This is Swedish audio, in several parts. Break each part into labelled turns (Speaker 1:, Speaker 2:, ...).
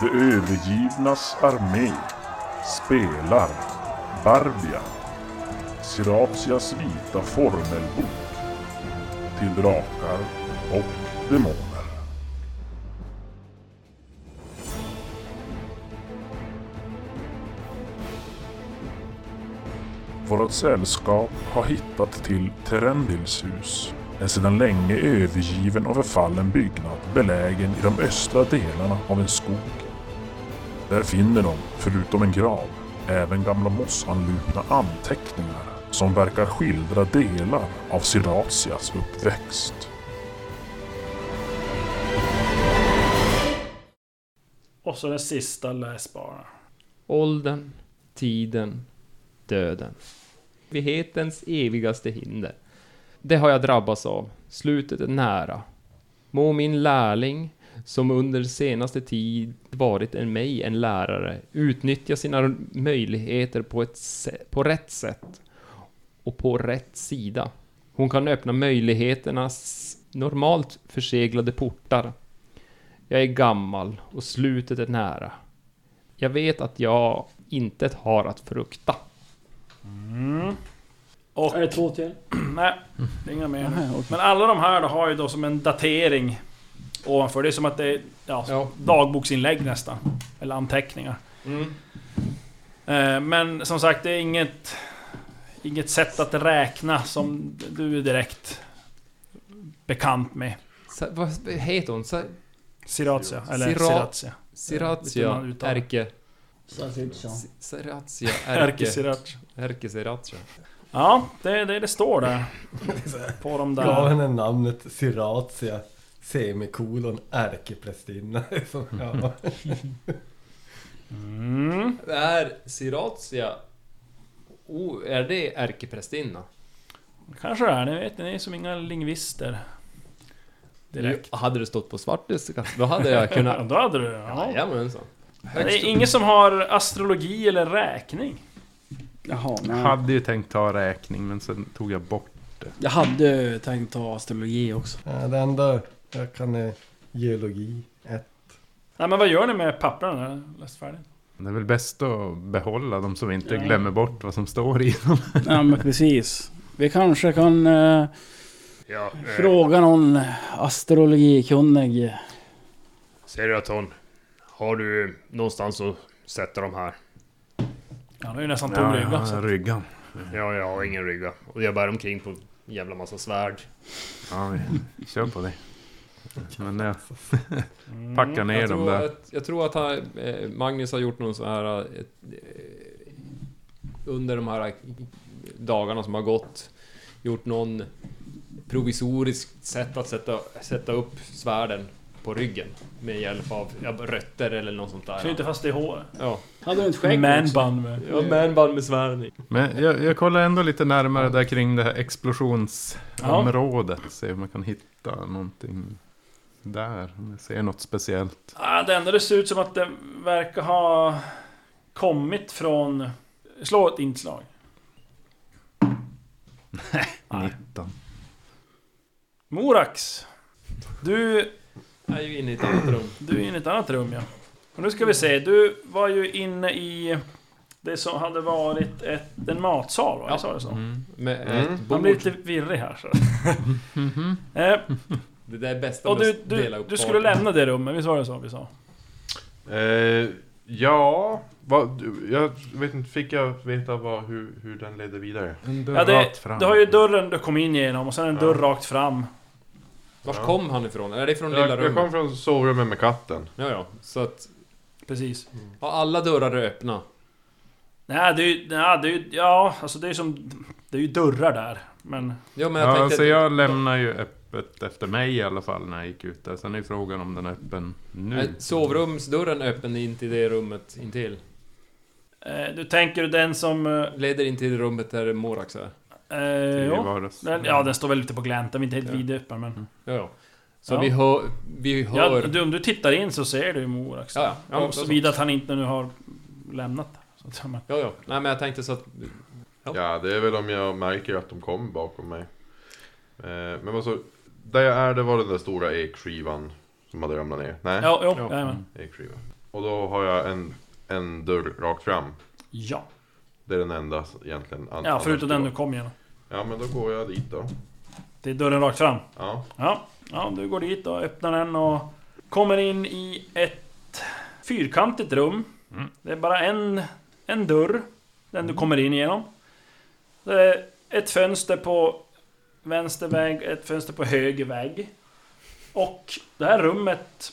Speaker 1: De övergivnas armé spelar Barbia, Siratias vita formelbok till drakar och demoner. Vårt sällskap har hittat till Terendils hus. En sedan länge övergiven och förfallen byggnad belägen i de östra delarna av en skog. Där finner de, förutom en grav, även gamla mossanlupna anteckningar som verkar skildra delar av Siratias uppväxt.
Speaker 2: Och så den sista läsbara.
Speaker 3: Åldern, tiden, döden. Evighetens evigaste hinder. Det har jag drabbats av. Slutet är nära. Må min lärling, som under senaste tid varit en mig en lärare, utnyttja sina möjligheter på, ett sä- på rätt sätt och på rätt sida. Hon kan öppna möjligheternas normalt förseglade portar. Jag är gammal och slutet är nära. Jag vet att jag intet har att frukta.
Speaker 2: Och
Speaker 4: Är det två till?
Speaker 2: nej, det är inga mer.
Speaker 4: Nej, okej.
Speaker 2: Men alla de här då har ju då som en datering ovanför. Det är som att det är ja,
Speaker 3: Ja.
Speaker 2: dagboksinlägg nästan. Eller anteckningar.
Speaker 3: Mm.
Speaker 2: Eh, Men som sagt, det är inget, inget sätt att räkna som du är direkt bekant med.
Speaker 3: Sa, vad heter hon? Sa,
Speaker 2: Siratia, eller
Speaker 3: Sira-
Speaker 2: Siratia. Lite man
Speaker 3: Siratia,
Speaker 2: uttalar.
Speaker 3: Erke...
Speaker 4: Så att det inte så.
Speaker 3: Si- Siratia,
Speaker 2: Erke
Speaker 3: Erke...
Speaker 2: Siratia.
Speaker 3: Erke Siratia.
Speaker 2: Ja, det är det det står där. På de där.
Speaker 5: Gav henne namnet Siratia semikolon ärkeprästinna. Så, ja.
Speaker 2: Mm.
Speaker 3: Är Siratia... Oh, är det ärkeprästinna?
Speaker 2: Kanske det är, ni vet, ni är som inga lingvister. Direkt.
Speaker 3: Jo, Hade det stått på svartiska, då hade jag
Speaker 2: Ja,
Speaker 3: kunnat...
Speaker 2: då hade du ja.
Speaker 3: Jajamensan.
Speaker 2: Men Det är ingen som har astrologi eller räkning.
Speaker 4: Jaha,
Speaker 6: Jag
Speaker 4: men
Speaker 6: hade ju tänkt ta räkning men sen tog jag bort.
Speaker 4: jag hade tänkt ta astrologi också.
Speaker 5: Ja, Det enda jag kan är geologi. Ett.
Speaker 2: Nej men vad gör ni med papperna när jag läst färdigt?
Speaker 6: Det är väl bäst att behålla dem som inte
Speaker 4: Ja.
Speaker 6: glömmer bort vad som står i dem.
Speaker 4: Ja, men precis. Vi kanske kan eh, fråga någon astrologikunnig.
Speaker 7: Seraton, har du någonstans att sätta de här?
Speaker 2: Han har ju nästan tom rygga. så att-
Speaker 6: ryggan.
Speaker 7: Ja, jag har ingen rygga. Och jag bär omkring på en jävla massa svärd.
Speaker 6: Ja, vi kör på det. Men jag
Speaker 2: Mm.
Speaker 6: packar ner
Speaker 3: Jag
Speaker 6: dem
Speaker 3: tror,
Speaker 6: där.
Speaker 3: att, jag tror att han, eh, Magnus har gjort någon sån här... eh, Ett, eh, under de här eh, dagarna som har gått, gjort någon provisoriskt sätt att sätta, sätta upp svärden på ryggen med hjälp av ja, rötter eller något sånt där.
Speaker 2: Knyter fast det i håret.
Speaker 3: Ja,
Speaker 4: Hade du inte skägg
Speaker 2: Man
Speaker 4: också?
Speaker 2: bun med.
Speaker 3: ja manband med svärden.
Speaker 6: Men jag, jag kollar ändå lite närmare där kring det här explosionsområdet. Se om man kan hitta någonting där. Om jag ser något speciellt.
Speaker 2: Ah, det enda det ser ut som att det verkar ha kommit från... Slå ett inslag.
Speaker 6: 19.
Speaker 2: Morax! Du,
Speaker 3: Jag är ju inne i ett annat rum.
Speaker 2: du är inne i ett annat rum ja. Och nu ska vi se, du var ju inne i... Det som hade varit ett, en matsal va?
Speaker 3: Ja.
Speaker 2: Jag sa det så?
Speaker 3: Med
Speaker 8: Mm.
Speaker 3: ett
Speaker 2: Man
Speaker 3: bord.
Speaker 2: blir lite virrig här så. eh,
Speaker 3: Det där är bästa
Speaker 2: och
Speaker 3: med
Speaker 2: du,
Speaker 3: att dela
Speaker 2: du,
Speaker 3: upp
Speaker 2: du skulle
Speaker 3: parten.
Speaker 2: lämna det rummet, visst var det så vi sa?
Speaker 8: Eh, ja, vad, du- jag vet inte, fick jag veta vad, hur, hur den leder vidare?
Speaker 6: En dörr
Speaker 2: Ja, det,
Speaker 6: rakt fram.
Speaker 2: du har ju dörren du kom in genom och sen en dörr rakt fram.
Speaker 3: Vart kom han ifrån? Är det från lilla
Speaker 8: Jag, jag kom
Speaker 3: rummet?
Speaker 8: från sovrummet med katten.
Speaker 3: Ja, ja. Så att...
Speaker 2: Precis.
Speaker 3: Ja, alla dörrar är öppna.
Speaker 2: Nej, det är ju... Nej, det är ju ja, alltså det är ju som... Det är ju dörrar där. Men...
Speaker 3: Ja, men jag
Speaker 6: Ja,
Speaker 3: tänkte...
Speaker 6: så jag lämnar ju öppet efter mig i alla fall när jag gick ut där. Sen är ju frågan om den är öppen nu.
Speaker 3: Nej, Sovrumsdörren är öppen in till det rummet intill.
Speaker 2: Eh, du tänker den som... Eh,
Speaker 3: Leder in till det rummet där Morax är.
Speaker 2: eh,
Speaker 6: Det är ju
Speaker 2: ja.
Speaker 6: vardags-
Speaker 2: Den, ja, den står väl lite på glänt. Den är inte helt
Speaker 6: Ja.
Speaker 2: vidöppen men...
Speaker 3: Ja, ja. Så
Speaker 2: Ja.
Speaker 3: vi hör... Vi
Speaker 2: Ja,
Speaker 3: hör...
Speaker 2: du, om du tittar in så ser du ju Morax.
Speaker 3: Ja, ja. Ja, men
Speaker 2: och så
Speaker 3: så-
Speaker 2: vidare att han inte nu har lämnat. Så att, men,
Speaker 3: ja, ja. Nej, men jag tänkte så att... Ja.
Speaker 8: Ja, det är väl om jag märker att de kommer bakom mig. Eh, men vad så, där jag är, det var den där stora ekskivan som hade ramlat ner. Nej,
Speaker 2: ja, jo,
Speaker 3: Ja.
Speaker 2: ja.
Speaker 8: ekskiva. Och då har jag en, en dörr rakt fram.
Speaker 2: Ja.
Speaker 8: Det är den enda egentligen. an-
Speaker 2: Ja, förutom
Speaker 8: annars
Speaker 2: den
Speaker 8: då.
Speaker 2: du kom igenom.
Speaker 8: Ja, men då går jag dit då.
Speaker 2: Det är dörren rakt fram.
Speaker 8: Ja.
Speaker 2: Ja, ja du går dit och öppnar den och kommer in i ett fyrkantigt rum. Det är bara en, en dörr, den du kommer in genom. Det är ett fönster på vänster väg, ett fönster på höger väg. Och det här rummet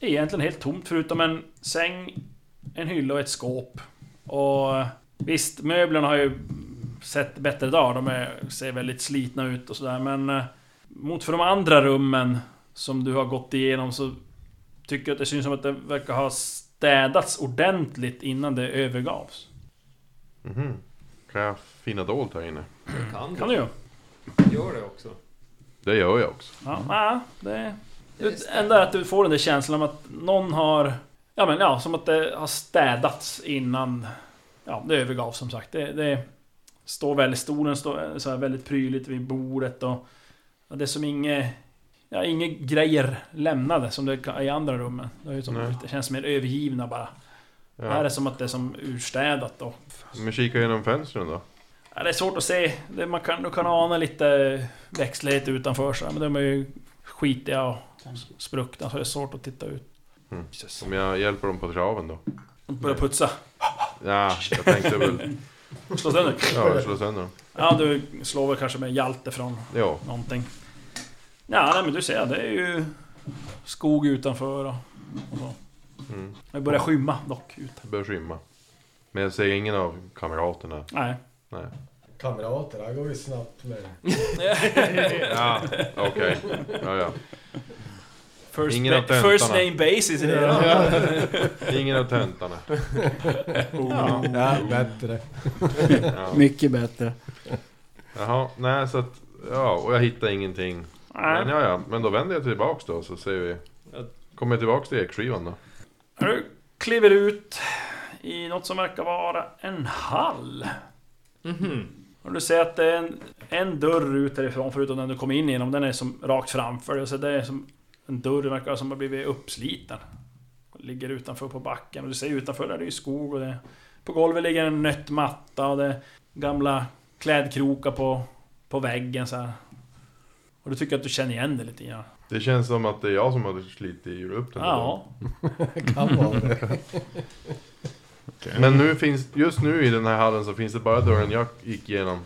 Speaker 2: är egentligen helt tomt förutom en säng, en hylla och ett skåp. Och visst, möblerna har ju sett bättre dagar. De är, ser väldigt slitna ut och sådär men... eh, mot för de andra rummen som du har gått igenom så tycker jag att det syns som att det verkar ha städats ordentligt innan det övergavs.
Speaker 8: Mhm. Kan jag finna dolt här inne?
Speaker 3: Kan
Speaker 2: Kan du ju.
Speaker 3: Gör det också.
Speaker 8: Det gör jag också.
Speaker 2: Ja, ja, det... Det enda är att du får den där känslan om att någon har... Ja men ja, som att det har städats innan... Ja, det övergavs som sagt. Det, det står väldigt... Stolen står så här väldigt prydligt vid bordet och... och det är som inget... Ja, inga grejer lämnade som det kan- i andra rummen. Det, är ju som,
Speaker 8: Nej.
Speaker 2: det känns mer övergivna bara. Här är
Speaker 8: Ja.
Speaker 2: det som att det är som urstädat och...
Speaker 8: Men kika genom fönstren då.
Speaker 2: Ja, det är svårt att se. Det, man kan, du kan ana lite växtlighet utanför så här, men de är ju skitiga och spruckna så det är svårt att titta ut.
Speaker 8: Mm. Om jag hjälper dem på traven då.
Speaker 2: Börja putsa.
Speaker 8: Ja, jag tänkte väl...
Speaker 2: Slå sönder.
Speaker 8: Ja, jag slår sönder dem.
Speaker 2: Ja, du slår väl kanske med hjälte från
Speaker 8: Ja.
Speaker 2: någonting. Ja, nej, men du ser, det är ju skog utanför och, och så.
Speaker 8: Mm.
Speaker 2: Det börjar skymma dock. Ut.
Speaker 8: Det börjar skymma. Men jag ser ingen av kamraterna.
Speaker 2: Nej.
Speaker 8: Nej.
Speaker 5: Kamrater, det här går ju snabbt med.
Speaker 8: Ja, okej. Ja, ja.
Speaker 2: First,
Speaker 8: Ingen av
Speaker 2: ba-
Speaker 8: töntarna.
Speaker 2: first name basis är det.
Speaker 8: Ingen av töntarna.
Speaker 4: Oh.
Speaker 5: Ja, bättre.
Speaker 8: Ja.
Speaker 4: Mycket bättre.
Speaker 8: Jaha, nej så att... Ja, och jag hittar ingenting.
Speaker 2: Nej.
Speaker 8: Men ja, ja. Men då vänder jag tillbaks då så ser vi. Kommer jag tillbaks till ekskivan då?
Speaker 2: Du kliver ut i något som verkar vara en hall.
Speaker 3: Mhm.
Speaker 2: Och du ser att det är en, en dörr ut härifrån förutom den du kom in genom. Den är som rakt framför dig. Så det är som en dörr den verkar som har blivit uppsliten. Ligger utanför på backen. Och du ser utanför där det är ju skog och det... På golvet ligger en nött matta och det är gamla klädkrokar på, på väggen så här. Och du tycker att du känner igen det lite grann?
Speaker 8: Det känns som att det är jag som hade slitit upp den.
Speaker 2: Ja.
Speaker 5: Kan vara det.
Speaker 8: Men nu finns, just nu i den här hallen så finns det bara dörren jag gick igenom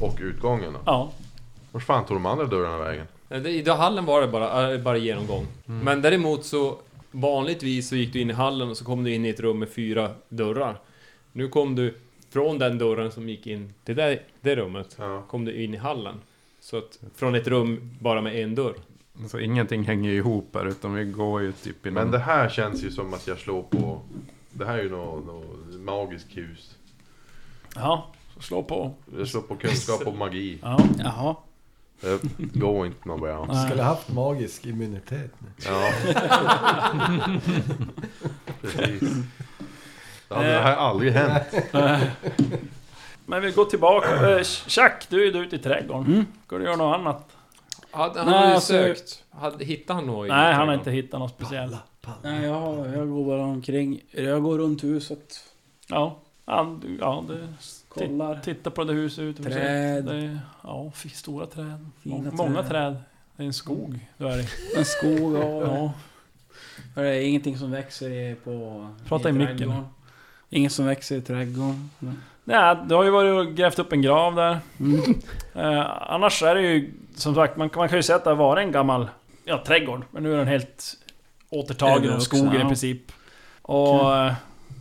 Speaker 8: och utgången då.
Speaker 2: Ja.
Speaker 8: Vart fan tog de andra dörrarna vägen?
Speaker 3: I den hallen var det bara, äh, bara genomgång.
Speaker 6: Mm.
Speaker 3: Men däremot så vanligtvis så gick du in i hallen och så kom du in i ett rum med fyra dörrar. Nu kom du från den dörren som gick in till det, det rummet,
Speaker 8: Ja.
Speaker 3: kom du in i hallen. Så att från ett rum bara med en dörr.
Speaker 6: Så ingenting hänger ju ihop här utan vi går ju typ i
Speaker 8: Men
Speaker 6: någon...
Speaker 8: det här känns ju som att jag slår på... Det här är ju något nå magiskt hus.
Speaker 2: Ja. Så slå på.
Speaker 8: Jag slår på kunskap och magi.
Speaker 2: Ja.
Speaker 4: Jaha.
Speaker 8: Det går inte någon bra.
Speaker 5: Skulle haft magisk immunitet nu.
Speaker 8: Ja. Precis. Det hade det här aldrig hänt.
Speaker 2: Men vi går tillbaka. Eh, Jack, du är ju ute i trädgården.
Speaker 4: Mm.
Speaker 2: Ska du göra något annat?
Speaker 3: Hade han
Speaker 4: Nej,
Speaker 3: Nej,
Speaker 4: alltså-
Speaker 3: sökt? Hade, hittade han något? i
Speaker 2: Nej, han har
Speaker 3: trädgården?
Speaker 2: inte hittat något speciellt.
Speaker 4: Nej, jag, jag går bara omkring. Jag går runt huset.
Speaker 2: Ja, han, du- ja du
Speaker 4: Kollar.
Speaker 2: tit- tittar på det huset ute på
Speaker 4: Träd.
Speaker 2: Det är, ja, f- stora träd.
Speaker 4: Fina
Speaker 2: Mång- Många
Speaker 4: träd.
Speaker 2: träd. Det är en skog du är i.
Speaker 4: En skog och...
Speaker 2: Ja.
Speaker 4: För det är ingenting som växer i- på...
Speaker 2: Prata i micken.
Speaker 4: trädgården. Inget som växer i trädgården.
Speaker 2: Nej, du har ju varit och grävt upp en grav där.
Speaker 4: Mm.
Speaker 2: Eh, annars är det ju som sagt, man, kan- man kan ju säga att det har varit en gammal ja, trädgård. Men nu är den helt återtagen
Speaker 4: Eller
Speaker 2: av
Speaker 4: också,
Speaker 2: skogen i
Speaker 4: ja.
Speaker 2: princip. Och eh,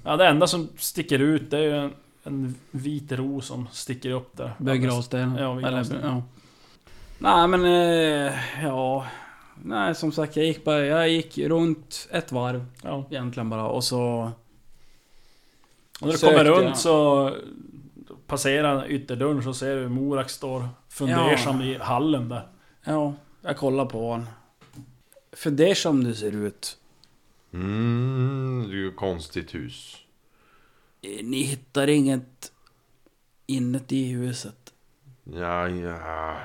Speaker 2: ja, det enda som sticker ut det är ju en, en vit ros som sticker upp där.
Speaker 4: Bög gravsten.
Speaker 2: Ja, vid gravsten.
Speaker 4: ja. Nej men... Eh, ja... Nej som sagt jag gick bara... Jag gick runt ett varv
Speaker 2: Ja.
Speaker 4: egentligen bara och så...
Speaker 2: Och när du
Speaker 4: Sökte
Speaker 2: kommer runt
Speaker 4: jag.
Speaker 2: så passerar ytterdörren så ser du Morak står fundersam i hallen där.
Speaker 4: Ja, jag kollar på honom. För det är som du ser ut.
Speaker 8: Mm, det är ju ett konstigt hus.
Speaker 4: eh, Ni hittar inget inuti huset.
Speaker 8: Ja, ja.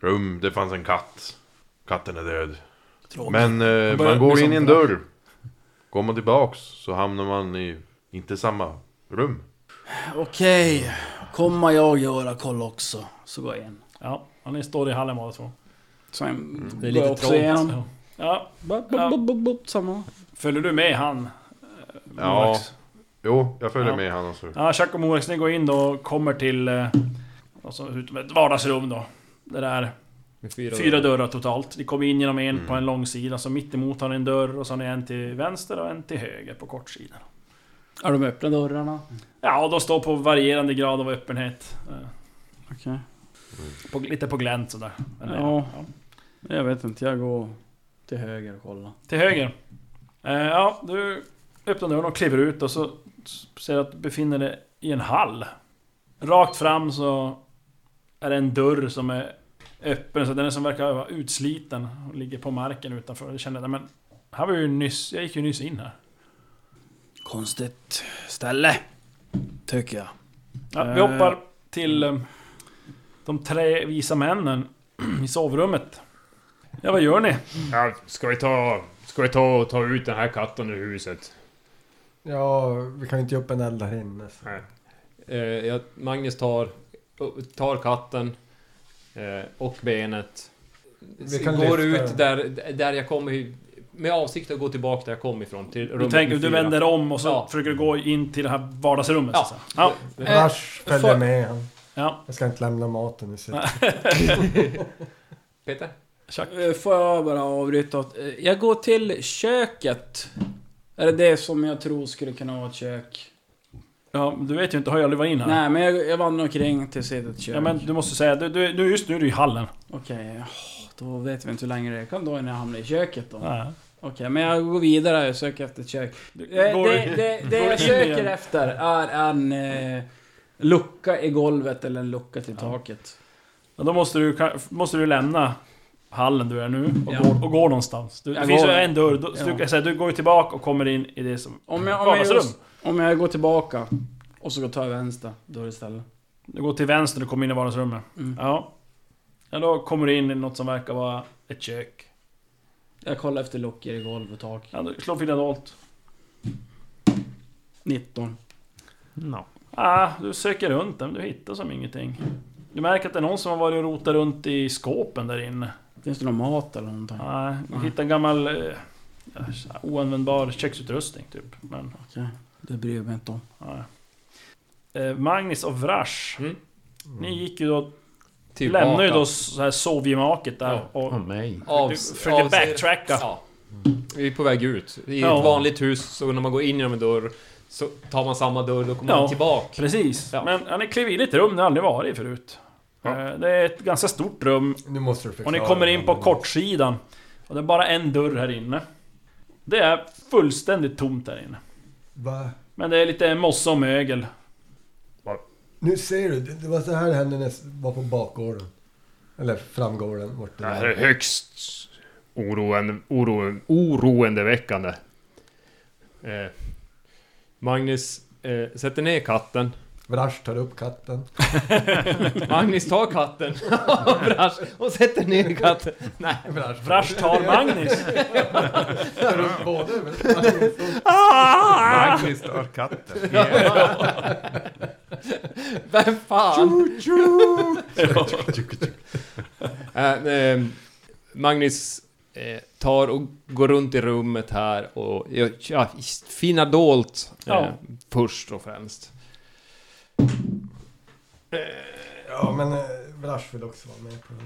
Speaker 8: Rum, det fanns en katt. Katten är död.
Speaker 2: Tråkigt.
Speaker 8: Men eh,
Speaker 2: börjar
Speaker 8: man går
Speaker 2: bli
Speaker 8: in i en
Speaker 2: som-
Speaker 8: dörr. Går man tillbaks så hamnar man i inte samma rum.
Speaker 4: Okej, kommer jag göra koll också. Så går jag igen.
Speaker 2: Ja, ja ni står i hallen båda två.
Speaker 4: Sen
Speaker 3: Det är
Speaker 4: går
Speaker 3: lite
Speaker 4: jag också
Speaker 3: trångt.
Speaker 4: igenom.
Speaker 2: Ja. Ja,
Speaker 4: Bop, bop, bop, bop, bop, samma.
Speaker 2: följer du med han? eh,
Speaker 8: Ja.
Speaker 2: Morax?
Speaker 8: Jo, jag följer
Speaker 2: Ja.
Speaker 8: med han alltså.
Speaker 2: Ja, Chuck och Morex, ni går in då och kommer till... eh, Alltså, utom ett vardagsrum då. Det där.
Speaker 3: Med fyra,
Speaker 2: Fyra dörrar totalt. Ni kommer in genom en
Speaker 4: Mm.
Speaker 2: på en långsida, så mittemot har ni en dörr och så har ni en till vänster och en till höger på kortsidan.
Speaker 4: Är de öppna dörrarna?
Speaker 2: Ja, och de står på varierande grad av öppenhet. eh,
Speaker 4: Okej.
Speaker 2: På, lite på glänt sådär. Eller,
Speaker 4: Ja. Jag vet inte, jag går till höger och kollar.
Speaker 2: Till höger. Eh, ja, du öppnar dörren och kliver ut och så ser du att du befinner dig i en hall. Rakt fram så är det en dörr som är öppen, så den är som verkar vara utsliten och ligger på marken utanför. Jag känner, nej men här var ju nyss, jag gick ju nyss in här.
Speaker 4: Konstigt ställe. Tycker jag.
Speaker 2: Ja, vi
Speaker 4: Eh.
Speaker 2: hoppar till eh, de tre visa männen i sovrummet. Ja, vad gör ni?
Speaker 7: Ja, ska vi ta... Ska vi ta och ta ut den här katten ur huset?
Speaker 5: Ja, vi kan ju inte ge upp en eld här inne. Så.
Speaker 7: Nej.
Speaker 3: Eh, jag, Magnus tar, tar katten eh, och benet.
Speaker 5: Vi kan
Speaker 3: går
Speaker 5: lyfta
Speaker 3: ut där, där jag kommer med avsikt att gå tillbaka där jag kom ifrån. Till
Speaker 2: Du
Speaker 3: rummet
Speaker 2: tänker,
Speaker 3: med
Speaker 2: du
Speaker 3: fyra.
Speaker 2: vänder om och så
Speaker 3: Ja.
Speaker 2: försöker du gå in till det här vardagsrummet.
Speaker 3: Ja.
Speaker 2: Så att säga. ja.
Speaker 3: Eh,
Speaker 5: Lars följer
Speaker 3: för-
Speaker 5: med han.
Speaker 2: Ja.
Speaker 5: Jag ska inte lämna maten i sitt.
Speaker 3: Peter?
Speaker 4: Eh, Får jag bara avbryta? åt- eh, Jag går till köket. Är det det som jag tror skulle kunna vara ett kök?
Speaker 2: Ja, du vet ju inte, har jag aldrig varit in här?
Speaker 4: Nej, men jag, jag vandrar omkring tills jag hittar ett kök.
Speaker 2: Ja men du måste säga, du, du, du, just nu är du i hallen.
Speaker 4: Okej, åh, då vet vi inte hur länge det kan då innan jag hamnar i köket då.
Speaker 2: Ja.
Speaker 4: Okej, men jag går vidare och söker efter ett kök.
Speaker 2: Du,
Speaker 4: Eh,
Speaker 2: går,
Speaker 4: det det, det
Speaker 2: går
Speaker 4: jag
Speaker 2: in
Speaker 4: söker
Speaker 2: igen.
Speaker 4: efter är en eh, lucka i golvet eller en lucka till
Speaker 2: Ja.
Speaker 4: taket.
Speaker 2: ja, då måste du, ka- måste du lämna hallen du är nu och,
Speaker 4: Ja.
Speaker 2: går, och går någonstans. Du, det
Speaker 4: Jag
Speaker 2: finns ju
Speaker 4: går.
Speaker 2: en dörr, då, så
Speaker 4: Ja.
Speaker 2: du, kan säga, du går ju tillbaka och kommer in i det som...
Speaker 4: Om jag, om jag,
Speaker 2: Vardagsrum.
Speaker 4: om jag går tillbaka och så går jag ta vänster dörr istället.
Speaker 2: Du går till vänster och kommer in i vardagsrummet.
Speaker 4: Mm.
Speaker 2: Ja. ja. Då kommer du in i något som verkar vara ett kök.
Speaker 4: Jag kollar efter luckor i golv och tak.
Speaker 2: Ja, du slår fina dolt.
Speaker 4: 19.
Speaker 2: Ah, du söker runt den, men du hittar som ingenting. Du märker att det är någon som har varit och rotat runt i skåpen där inne.
Speaker 4: Finns det någon mat eller någonting?
Speaker 2: Nej, du hittar en gammal... eh, ja, så här Oanvändbar köksutrustning typ. Men...
Speaker 4: Det bryr jag mig inte om.
Speaker 2: Ja. Eh, Magnus och Vrash.
Speaker 3: Mm.
Speaker 2: Ni gick ju då,
Speaker 3: Tillbaka.
Speaker 2: lämnade ju då så här sovgemaket där och
Speaker 6: Åh mig.
Speaker 3: Avs-
Speaker 2: försökte
Speaker 3: avser-
Speaker 2: backtracka.
Speaker 3: Ja. Vi är på väg ut. I
Speaker 2: Ja.
Speaker 3: ett vanligt hus, så när man går in genom en dörr så tar man samma dörr, då kommer
Speaker 2: Ja.
Speaker 3: man tillbaka.
Speaker 2: Precis.
Speaker 3: Ja.
Speaker 2: Men ja, ni klev in i ett rum ni aldrig varit i förut. Eh, Det är ett ganska stort rum
Speaker 5: Nu måste du förklara.
Speaker 2: och ni kommer in på
Speaker 5: det.
Speaker 2: kortsidan. Och det är bara en dörr här inne. Det är fullständigt tomt här inne.
Speaker 5: Va?
Speaker 2: Men det är lite mossa och mögel.
Speaker 5: Nu ser du, det det var så här det hände när jag var på bakgården. Eller framgården. Vart det
Speaker 7: Det här
Speaker 5: var.
Speaker 7: är högst oroande, oro, oroendeväckande.
Speaker 3: Eh, Magnus eh, sätter ner katten.
Speaker 5: Vrash tar upp katten.
Speaker 3: Magnus tar katten och brasch och sätter ner katten. Nej.
Speaker 2: Vrash tar Magnus.
Speaker 5: Tar upp både. men-
Speaker 2: Ah!
Speaker 6: Magnus dör katten.
Speaker 3: Vem fan? Eh, eh, Magnus eh, tar och går runt i rummet här och ja, ja, finner dolt eh,
Speaker 2: Ja.
Speaker 3: först och främst.
Speaker 5: Ja men eh, Vrash vill också vara med på det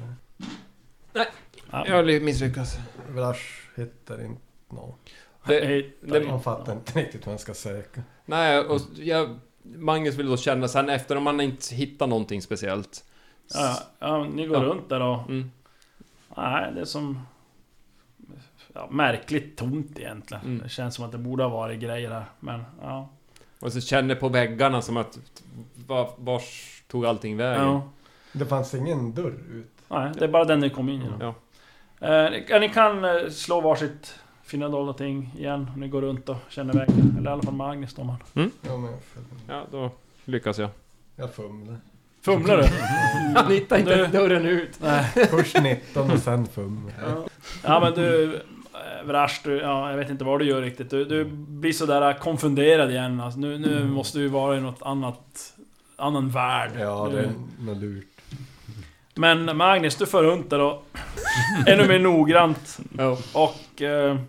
Speaker 5: här.
Speaker 3: Jag har misslyckats.
Speaker 5: Vrash hittar inte någon.
Speaker 3: Det, det,
Speaker 5: Han fattar inte riktigt vad han ska söka.
Speaker 3: nej, och jag, Magnus vill då känna sen efter om man inte hittar någonting speciellt.
Speaker 2: Ja, ja, ni går
Speaker 3: Ja.
Speaker 2: runt där och...
Speaker 3: Mm,
Speaker 2: Nej, det är som... Ja, märkligt tomt egentligen.
Speaker 3: Mm.
Speaker 2: Det känns som att det borde ha varit grejer här, men ja.
Speaker 3: och så känner på väggarna som att var, vars tog allting vägen?
Speaker 2: ja.
Speaker 5: Det fanns ingen dörr ut.
Speaker 2: Nej, det är bara den ni kom in genom.
Speaker 3: Ja.
Speaker 2: Eh, ni- ja, ni kan eh, slå varsitt fina dolda ting igen. Ni går runt och känner vägen. Eller i alla fall Magnus då man.
Speaker 5: Ja men jag följer.
Speaker 3: Ja, då lyckas jag.
Speaker 5: Jag fumlar.
Speaker 2: Fumlar du?
Speaker 3: Han hittar
Speaker 2: inte
Speaker 3: dörren ut.
Speaker 2: Nej.
Speaker 5: Först 19 och sen fumlar.
Speaker 2: Ja men du... eh, Vrash, du, ja, jag vet inte vad du gör riktigt. Du, du blir sådär konfunderad igen. Alltså, nu, nu måste du vara i något annat... Annan värld.
Speaker 5: Ja,
Speaker 2: Du-
Speaker 5: det är något lurt.
Speaker 2: Men Magnus, du föruntar och ännu mer noggrant.
Speaker 4: Ja.
Speaker 2: Och eh,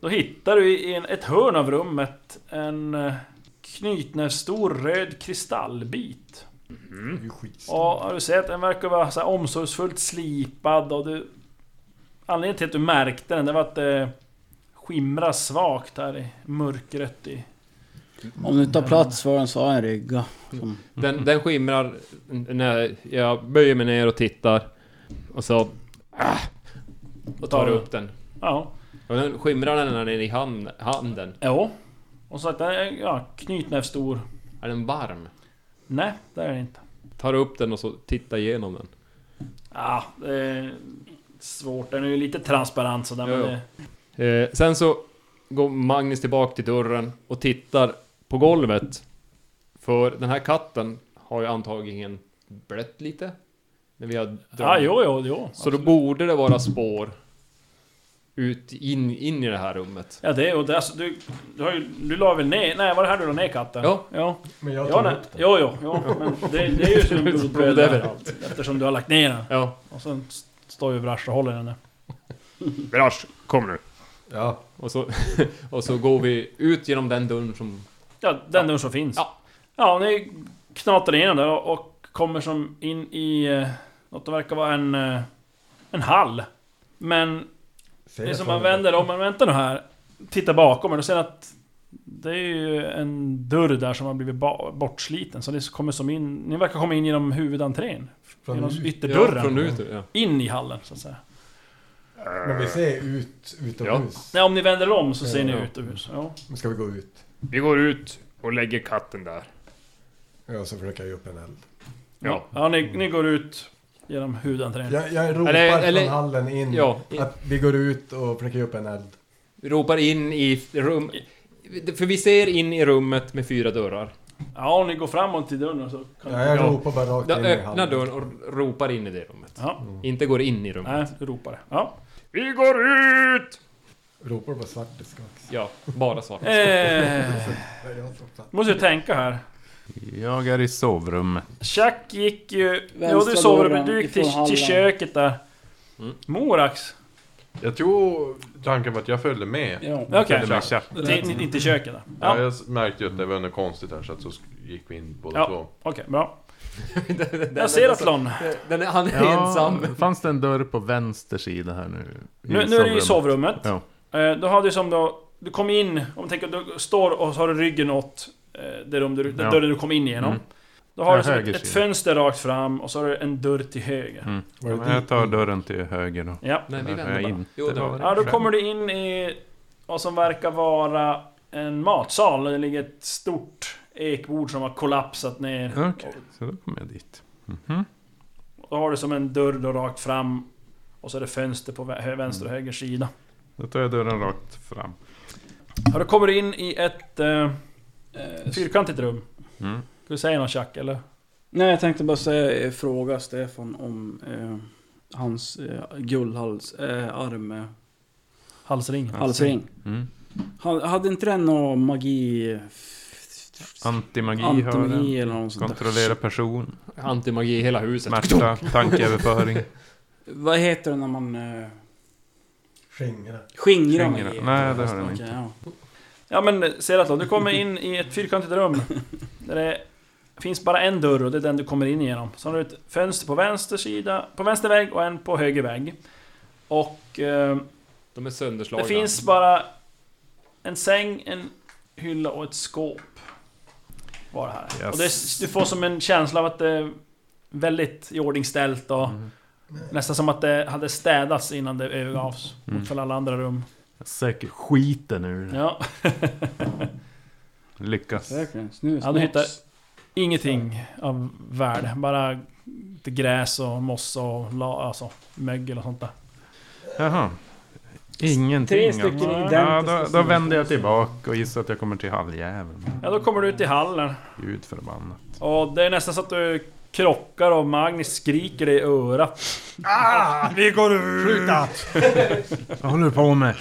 Speaker 2: då hittar du i en, ett hörn av rummet en eh, knytnävsstor röd kristallbit.
Speaker 5: Mm. Det är ju skit.
Speaker 2: Och du ser att den verkar vara så här omsorgsfullt slipad och du... Anledningen till att du märkte den, det var att det skimrar svagt här i mörkret i...
Speaker 4: Om du tar plats för den så har jag en rygga. Som,
Speaker 2: Mhm.
Speaker 3: Den, den skimrar n- när jag böjer mig ner och tittar. Och så... Ah, och tar upp den.
Speaker 2: Ja.
Speaker 3: Och den skimrar när den är i hand, handen.
Speaker 2: Jo. Och så att den är ja, knytnävsstor.
Speaker 3: Är den varm?
Speaker 2: Nej, det är den inte.
Speaker 3: Tar upp den och så tittar igenom den.
Speaker 2: Ja, det är svårt. Den är ju lite transparent sådär
Speaker 3: Jo,
Speaker 2: men
Speaker 3: jo.
Speaker 2: det...
Speaker 3: Eh, sen så går Magnus tillbaka till dörren och tittar på golvet. För den här katten har ju antagligen blött lite. När vi har dragit.
Speaker 2: Ja, Ah, jo, jo, jo.
Speaker 3: Så då borde det vara spår ut in, in i det här rummet.
Speaker 2: Ja, det är och det, alltså, du, du har ju... Du la väl ner... Nej, var det här du la ner katten?
Speaker 3: Ja.
Speaker 2: Ja,
Speaker 5: Men jag
Speaker 2: ja
Speaker 5: tar
Speaker 2: nej.
Speaker 5: upp den.
Speaker 2: Jo, jo, jo. Men det, det är ju som en blodböld
Speaker 3: Blod
Speaker 2: överallt. Eftersom du har lagt ner den.
Speaker 3: Ja,
Speaker 2: Och sen s- står ju Brash och håller den där.
Speaker 7: Brash, kom nu.
Speaker 5: Ja,
Speaker 3: och så, och så går vi ut genom den dörren som...
Speaker 2: Ja, den dörren som finns.
Speaker 3: Ja.
Speaker 2: Ja, ni knatar igenom där och, och kommer som in i... eh, Något som verkar vara en... eh, En hall. Men
Speaker 5: säg
Speaker 2: Det är
Speaker 5: att
Speaker 2: som
Speaker 5: han-
Speaker 2: man vänder om, men vänta nu här. Titta bakom er och ser att det är ju en dörr där som har blivit ba- bortsliten. Så ni kommer som in, ni verkar komma in genom huvudentrén.
Speaker 5: Från
Speaker 2: genom
Speaker 5: ut.
Speaker 2: ytterdörren.
Speaker 3: Ja, från ut, ja.
Speaker 2: In i hallen så att säga.
Speaker 5: Men vi ser ut utomhus.
Speaker 2: Nej, om ni vänder om så ser ni
Speaker 5: Ja.
Speaker 2: ut ur huset. Ja.
Speaker 5: Men Ska vi gå ut?
Speaker 7: Vi går ut och lägger katten där.
Speaker 5: Ja, så försöker jag ge upp en eld.
Speaker 7: Ja.
Speaker 2: ja ni, ni går ut genom huvudentrén.
Speaker 5: Jag, jag ropar
Speaker 3: Eller- eller-
Speaker 5: från hallen in
Speaker 3: Ja.
Speaker 5: att vi går ut och försöker ge upp en eld.
Speaker 3: Ropar in i rum... För vi ser in i rummet med fyra dörrar.
Speaker 2: Ja, om ni går framåt till dörren så kan
Speaker 5: Ja,
Speaker 2: ni...
Speaker 5: jag
Speaker 3: Ja.
Speaker 5: ropar bara rakt
Speaker 3: Då
Speaker 5: in i
Speaker 3: öppnar
Speaker 5: hallen.
Speaker 3: dörren och ropar in i det rummet.
Speaker 2: Ja,
Speaker 3: Inte går in i rummet.
Speaker 2: nej, du ropar det. Ja.
Speaker 7: Vi går ut!
Speaker 5: Ropar bara svart det ska också.
Speaker 3: Ja, bara svart.
Speaker 2: Eh,
Speaker 5: Nej, jag tror fan.
Speaker 2: måste ju tänka här.
Speaker 6: Jag är i sovrummet.
Speaker 2: Chack gick ju... Ja, du
Speaker 4: Vänstra
Speaker 2: sover
Speaker 4: dörren
Speaker 2: men du gick till,
Speaker 4: ifrån
Speaker 2: till
Speaker 4: hallen.
Speaker 2: köket där.
Speaker 6: Mm.
Speaker 2: Morax.
Speaker 8: Jag tror tanken var att jag följde med.
Speaker 4: ja.
Speaker 2: Okej.
Speaker 6: Eller med Chack.
Speaker 2: Till, till, till köket då?
Speaker 8: Ja.
Speaker 2: Ja,
Speaker 8: jag märkte ju att det var något konstigt här så att så sk- gick vi in båda
Speaker 2: Ja.
Speaker 8: två.
Speaker 2: okej, bra.
Speaker 3: Den- den-
Speaker 2: Jag ser
Speaker 3: den-
Speaker 2: att Lon.
Speaker 3: Den är, han är ensam.
Speaker 6: Fanns det en dörr på vänster sida här nu? i
Speaker 2: Nu, nu är du i
Speaker 6: sovrummet?
Speaker 2: sovrummet.
Speaker 6: Ja.
Speaker 2: Eh, Då har du som då... Du kom in, om du tänker, du står och så har du ryggen åt eh, det rum du, den
Speaker 6: Ja.
Speaker 2: dörren du kom in genom.
Speaker 6: Mm.
Speaker 2: Då har
Speaker 6: Ja,
Speaker 2: du som ett,
Speaker 6: höger
Speaker 2: ett
Speaker 6: sida.
Speaker 2: fönster rakt fram och så har du en dörr till höger.
Speaker 6: Mm.
Speaker 5: Var det
Speaker 6: Ja, men Jag
Speaker 5: dit
Speaker 6: tar
Speaker 5: ni-
Speaker 6: dörren till höger då.
Speaker 2: Ja.
Speaker 3: Nej, vi
Speaker 6: Där har
Speaker 3: vänder
Speaker 6: jag
Speaker 3: bara.
Speaker 6: inte
Speaker 3: Jo, det var
Speaker 6: varit.
Speaker 3: det.
Speaker 2: ja, då kommer du in i vad som verkar vara en matsal. Där det ligger ett stort ekbord som har kollapsat ner.
Speaker 6: Okej, så då kommer jag dit. Mhm.
Speaker 2: Och Då har du som en dörr då rakt fram. Och så är det fönster på vä- vänster och höger sida.
Speaker 6: Då tar jag dörren rakt fram.
Speaker 2: Ja, då kommer du in i ett eh, fyrkantigt rum.
Speaker 6: Mm.
Speaker 2: Ska du säga något Chuck, eller?
Speaker 4: Nej, jag tänkte bara säga, eh, fråga Stefan om eh, hans eh, guldhals, eh, arm, eh,
Speaker 2: Halsring?
Speaker 4: halsring.
Speaker 6: Mm.
Speaker 4: Han, hade inte den någon magi...
Speaker 6: Antimagi, har den.
Speaker 4: Antimagi eller något sånt
Speaker 6: Kontrollera person.
Speaker 3: Antimagi i hela huset.
Speaker 6: Smärta, tankeöverföring.
Speaker 4: Vad heter det när man... Eh,
Speaker 5: Skingra.
Speaker 4: skingrar
Speaker 6: Skingra.
Speaker 4: magi?
Speaker 6: Nej, det har den
Speaker 4: Okej, ja.
Speaker 2: Ja men eh, Seratlon, du kommer in i ett fyrkantigt rum. Där det finns bara en dörr och det är den du kommer in genom. Sen har du ett fönster på vänster sida, på vänster vägg och en på höger vägg. Och eh,
Speaker 3: De är sönderslagna.
Speaker 2: det finns bara en säng, en hylla och ett skåp. Var det här.
Speaker 6: Yes.
Speaker 2: Och det, du får som en känsla av att det är väldigt iordningställt och
Speaker 6: Mm.
Speaker 2: nästan som att det hade städats innan det övergavs. Mot för alla andra rum.
Speaker 6: Jag söker skiten ur det.
Speaker 2: Ja,
Speaker 6: Lyckas.
Speaker 4: Säkert. Snus.
Speaker 2: Ja, du hittar-
Speaker 4: mops.
Speaker 2: ingenting av värde. Bara lite gräs och mossa och la, alltså, mögel och sånt där.
Speaker 6: Jaha. Ingenting.
Speaker 4: Tre stycken
Speaker 6: alltså.
Speaker 4: identiska
Speaker 6: ja, då, då vänder jag tillbaka och gissar att jag kommer till halljäveln.
Speaker 2: Ja, då kommer du ut i hallen.
Speaker 6: Gud förbannat.
Speaker 2: Och det är nästan så att du krockar och Magnus skriker dig i örat.
Speaker 6: Vad håller du på med?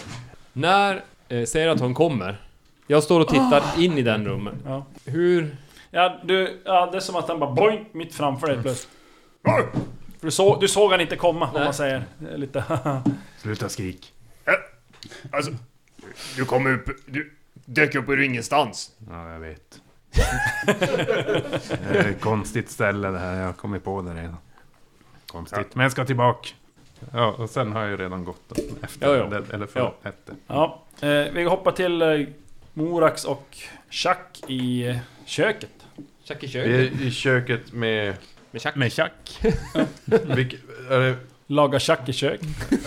Speaker 3: När eh, Seraton kommer, jag står och tittar in i den rummet.
Speaker 2: Ja.
Speaker 3: Hur...
Speaker 2: Ja, du, ja, det är som att han bara boing mitt framför dig plötsligt. För du, såg, du såg han inte komma om
Speaker 3: Nej.
Speaker 2: man säger. Det är Lite
Speaker 6: Sluta skrik.
Speaker 7: Alltså, du kommer upp... Du dök upp ur ingenstans.
Speaker 6: Ja, jag vet. det är ett konstigt ställe det här. Jag har kommit på det redan. Konstigt. Men jag ska tillbaka. Ja, och sen har jag ju redan gått efter
Speaker 3: Ja, ja.
Speaker 6: det. Eller för
Speaker 3: Ja.
Speaker 6: hette.
Speaker 2: Ja, eh, vi hoppar till eh, Morax och Chuck i eh, köket.
Speaker 3: Tjack i
Speaker 8: Vi
Speaker 3: köket.
Speaker 8: är i köket med...
Speaker 3: Med tjack.
Speaker 6: Med tjack.
Speaker 8: Vilk, är det,
Speaker 2: Laga Chuck i köket.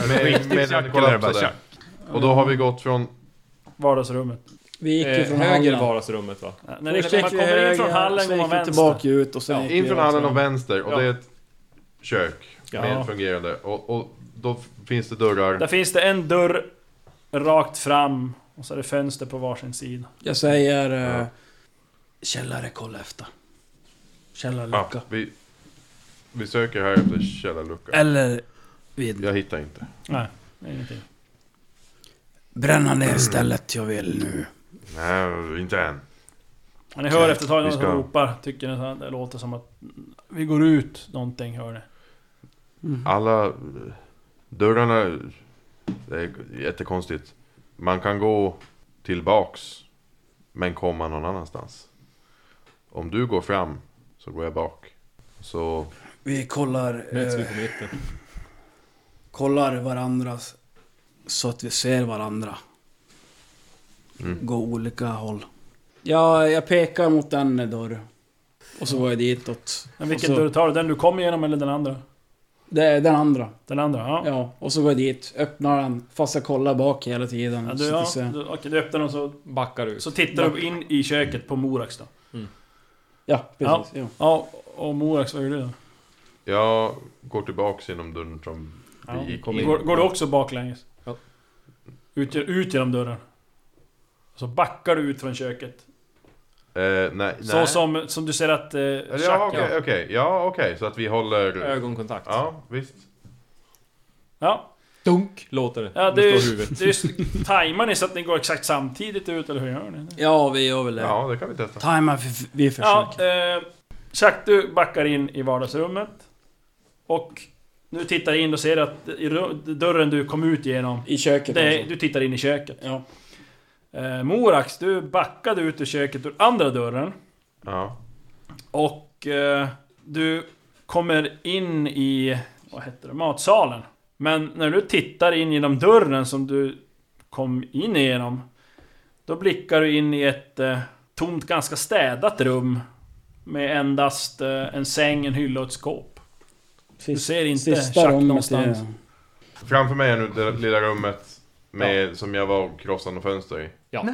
Speaker 8: med, med den kollapsade. Och då har vi gått från...
Speaker 2: Vardagsrummet.
Speaker 4: Vi gick ju
Speaker 3: Eh,
Speaker 4: från
Speaker 3: höger
Speaker 4: hallen.
Speaker 3: vardagsrummet va?
Speaker 2: Ja, När det,
Speaker 4: Först
Speaker 2: när man
Speaker 4: gick vi
Speaker 2: kommer in
Speaker 4: höger,
Speaker 2: från hallen
Speaker 4: sen
Speaker 2: går man
Speaker 4: gick vi
Speaker 2: vänster.
Speaker 4: tillbaka ut och sen gick
Speaker 8: In
Speaker 4: vi
Speaker 8: från
Speaker 4: också.
Speaker 8: hallen och vänster. Och
Speaker 3: Ja.
Speaker 8: det är ett kök. Med
Speaker 2: Ja.
Speaker 8: fungerande. Och, och då finns det
Speaker 2: Där
Speaker 8: dörrar.
Speaker 2: finns det en dörr rakt fram och så är det fönster på varsin sida.
Speaker 4: Jag säger... eh, källare, kolla efter. Källarlucka.
Speaker 8: Ja, vi, vi söker här efter källarlucka.
Speaker 4: Eller... Vid.
Speaker 8: Jag hittar inte.
Speaker 2: Nej, det är ingenting.
Speaker 4: Bränna ner stället jag vill nu.
Speaker 8: Nej, inte än.
Speaker 2: Men ni hör efter ett tag
Speaker 8: vi
Speaker 2: någon som
Speaker 8: ska-
Speaker 2: ropar. Tycker ni att det låter som att vi går ut någonting, hör ni.
Speaker 8: Alla eh, dörrarna... Det är jättekonstigt. Man kan gå tillbaks men komma någon annanstans. Om du går fram så går jag bak. Så
Speaker 4: Vi kollar...
Speaker 3: Möts vi
Speaker 4: Eh,
Speaker 3: på mitten.
Speaker 4: kollar varandra så att vi ser varandra.
Speaker 8: Mm.
Speaker 4: Gå olika håll. Ja, jag pekar mot den dörr. Och så går jag ditåt.
Speaker 2: Men vilken
Speaker 4: Och så-
Speaker 2: dörr tar du? Den du kom igenom eller den andra?
Speaker 4: Det är den andra.
Speaker 2: Den andra? Ja.
Speaker 4: Ja, och så går jag dit, öppnar den, fast jag kollar bak hela tiden.
Speaker 2: Ja,
Speaker 4: så
Speaker 2: du,
Speaker 4: att
Speaker 2: ja,
Speaker 4: jag ser.
Speaker 2: du, okej, du öppnar den och så,
Speaker 3: Backar ut.
Speaker 2: så tittar du in i köket på Morax då.
Speaker 4: ja precis. Ja.
Speaker 2: Ja, och Morax, vad gör du då?
Speaker 8: jag går tillbaks genom dörren som
Speaker 2: Ja,
Speaker 8: vi gick
Speaker 3: kom in.
Speaker 2: Går, går du också baklänges?
Speaker 3: Ja.
Speaker 2: Ut, ge- ut genom dörren. Så backar du ut från köket.
Speaker 8: Eh, nej,
Speaker 2: Så
Speaker 8: nej.
Speaker 2: som, som du ser att... Eh,
Speaker 8: Eller,
Speaker 2: Jack-
Speaker 8: Ja, okej, okej. Ja, okej. Så att vi håller...
Speaker 3: Ögonkontakt.
Speaker 8: Ja, visst.
Speaker 2: ja.
Speaker 3: Dunk låter det.
Speaker 2: ja
Speaker 3: Ja,
Speaker 2: det är ju...
Speaker 3: står huvudet.
Speaker 2: Det är ju- tajmar ni så att ni går exakt samtidigt ut, eller hur gör ni?
Speaker 4: ja, vi gör väl det.
Speaker 8: Ja, det kan vi testa.
Speaker 4: Tajma vi, vi försöker.
Speaker 2: Ja, eh, Jack, du backar in i vardagsrummet. Och nu tittar in och ser att i ru- dörren du kom ut genom,
Speaker 4: I köket
Speaker 2: det,
Speaker 4: alltså.
Speaker 2: du tittar in i köket.
Speaker 4: Ja.
Speaker 2: Eh, Morax, du backade ut ur köket ur andra dörren.
Speaker 8: Ja.
Speaker 2: Och eh, du kommer in i, vad heter det, matsalen. Men när du tittar in genom dörren som du kom in genom Då blickar du in i ett eh, tomt, ganska städat rum. Med endast eh, en säng, en hylla och ett skåp. Du ser inte
Speaker 4: Sista
Speaker 2: Chuck
Speaker 4: rummet
Speaker 2: någonstans.
Speaker 4: är...
Speaker 8: Framför mig är nu det lilla rummet med, som jag var och krossade något fönster i.
Speaker 2: Ja.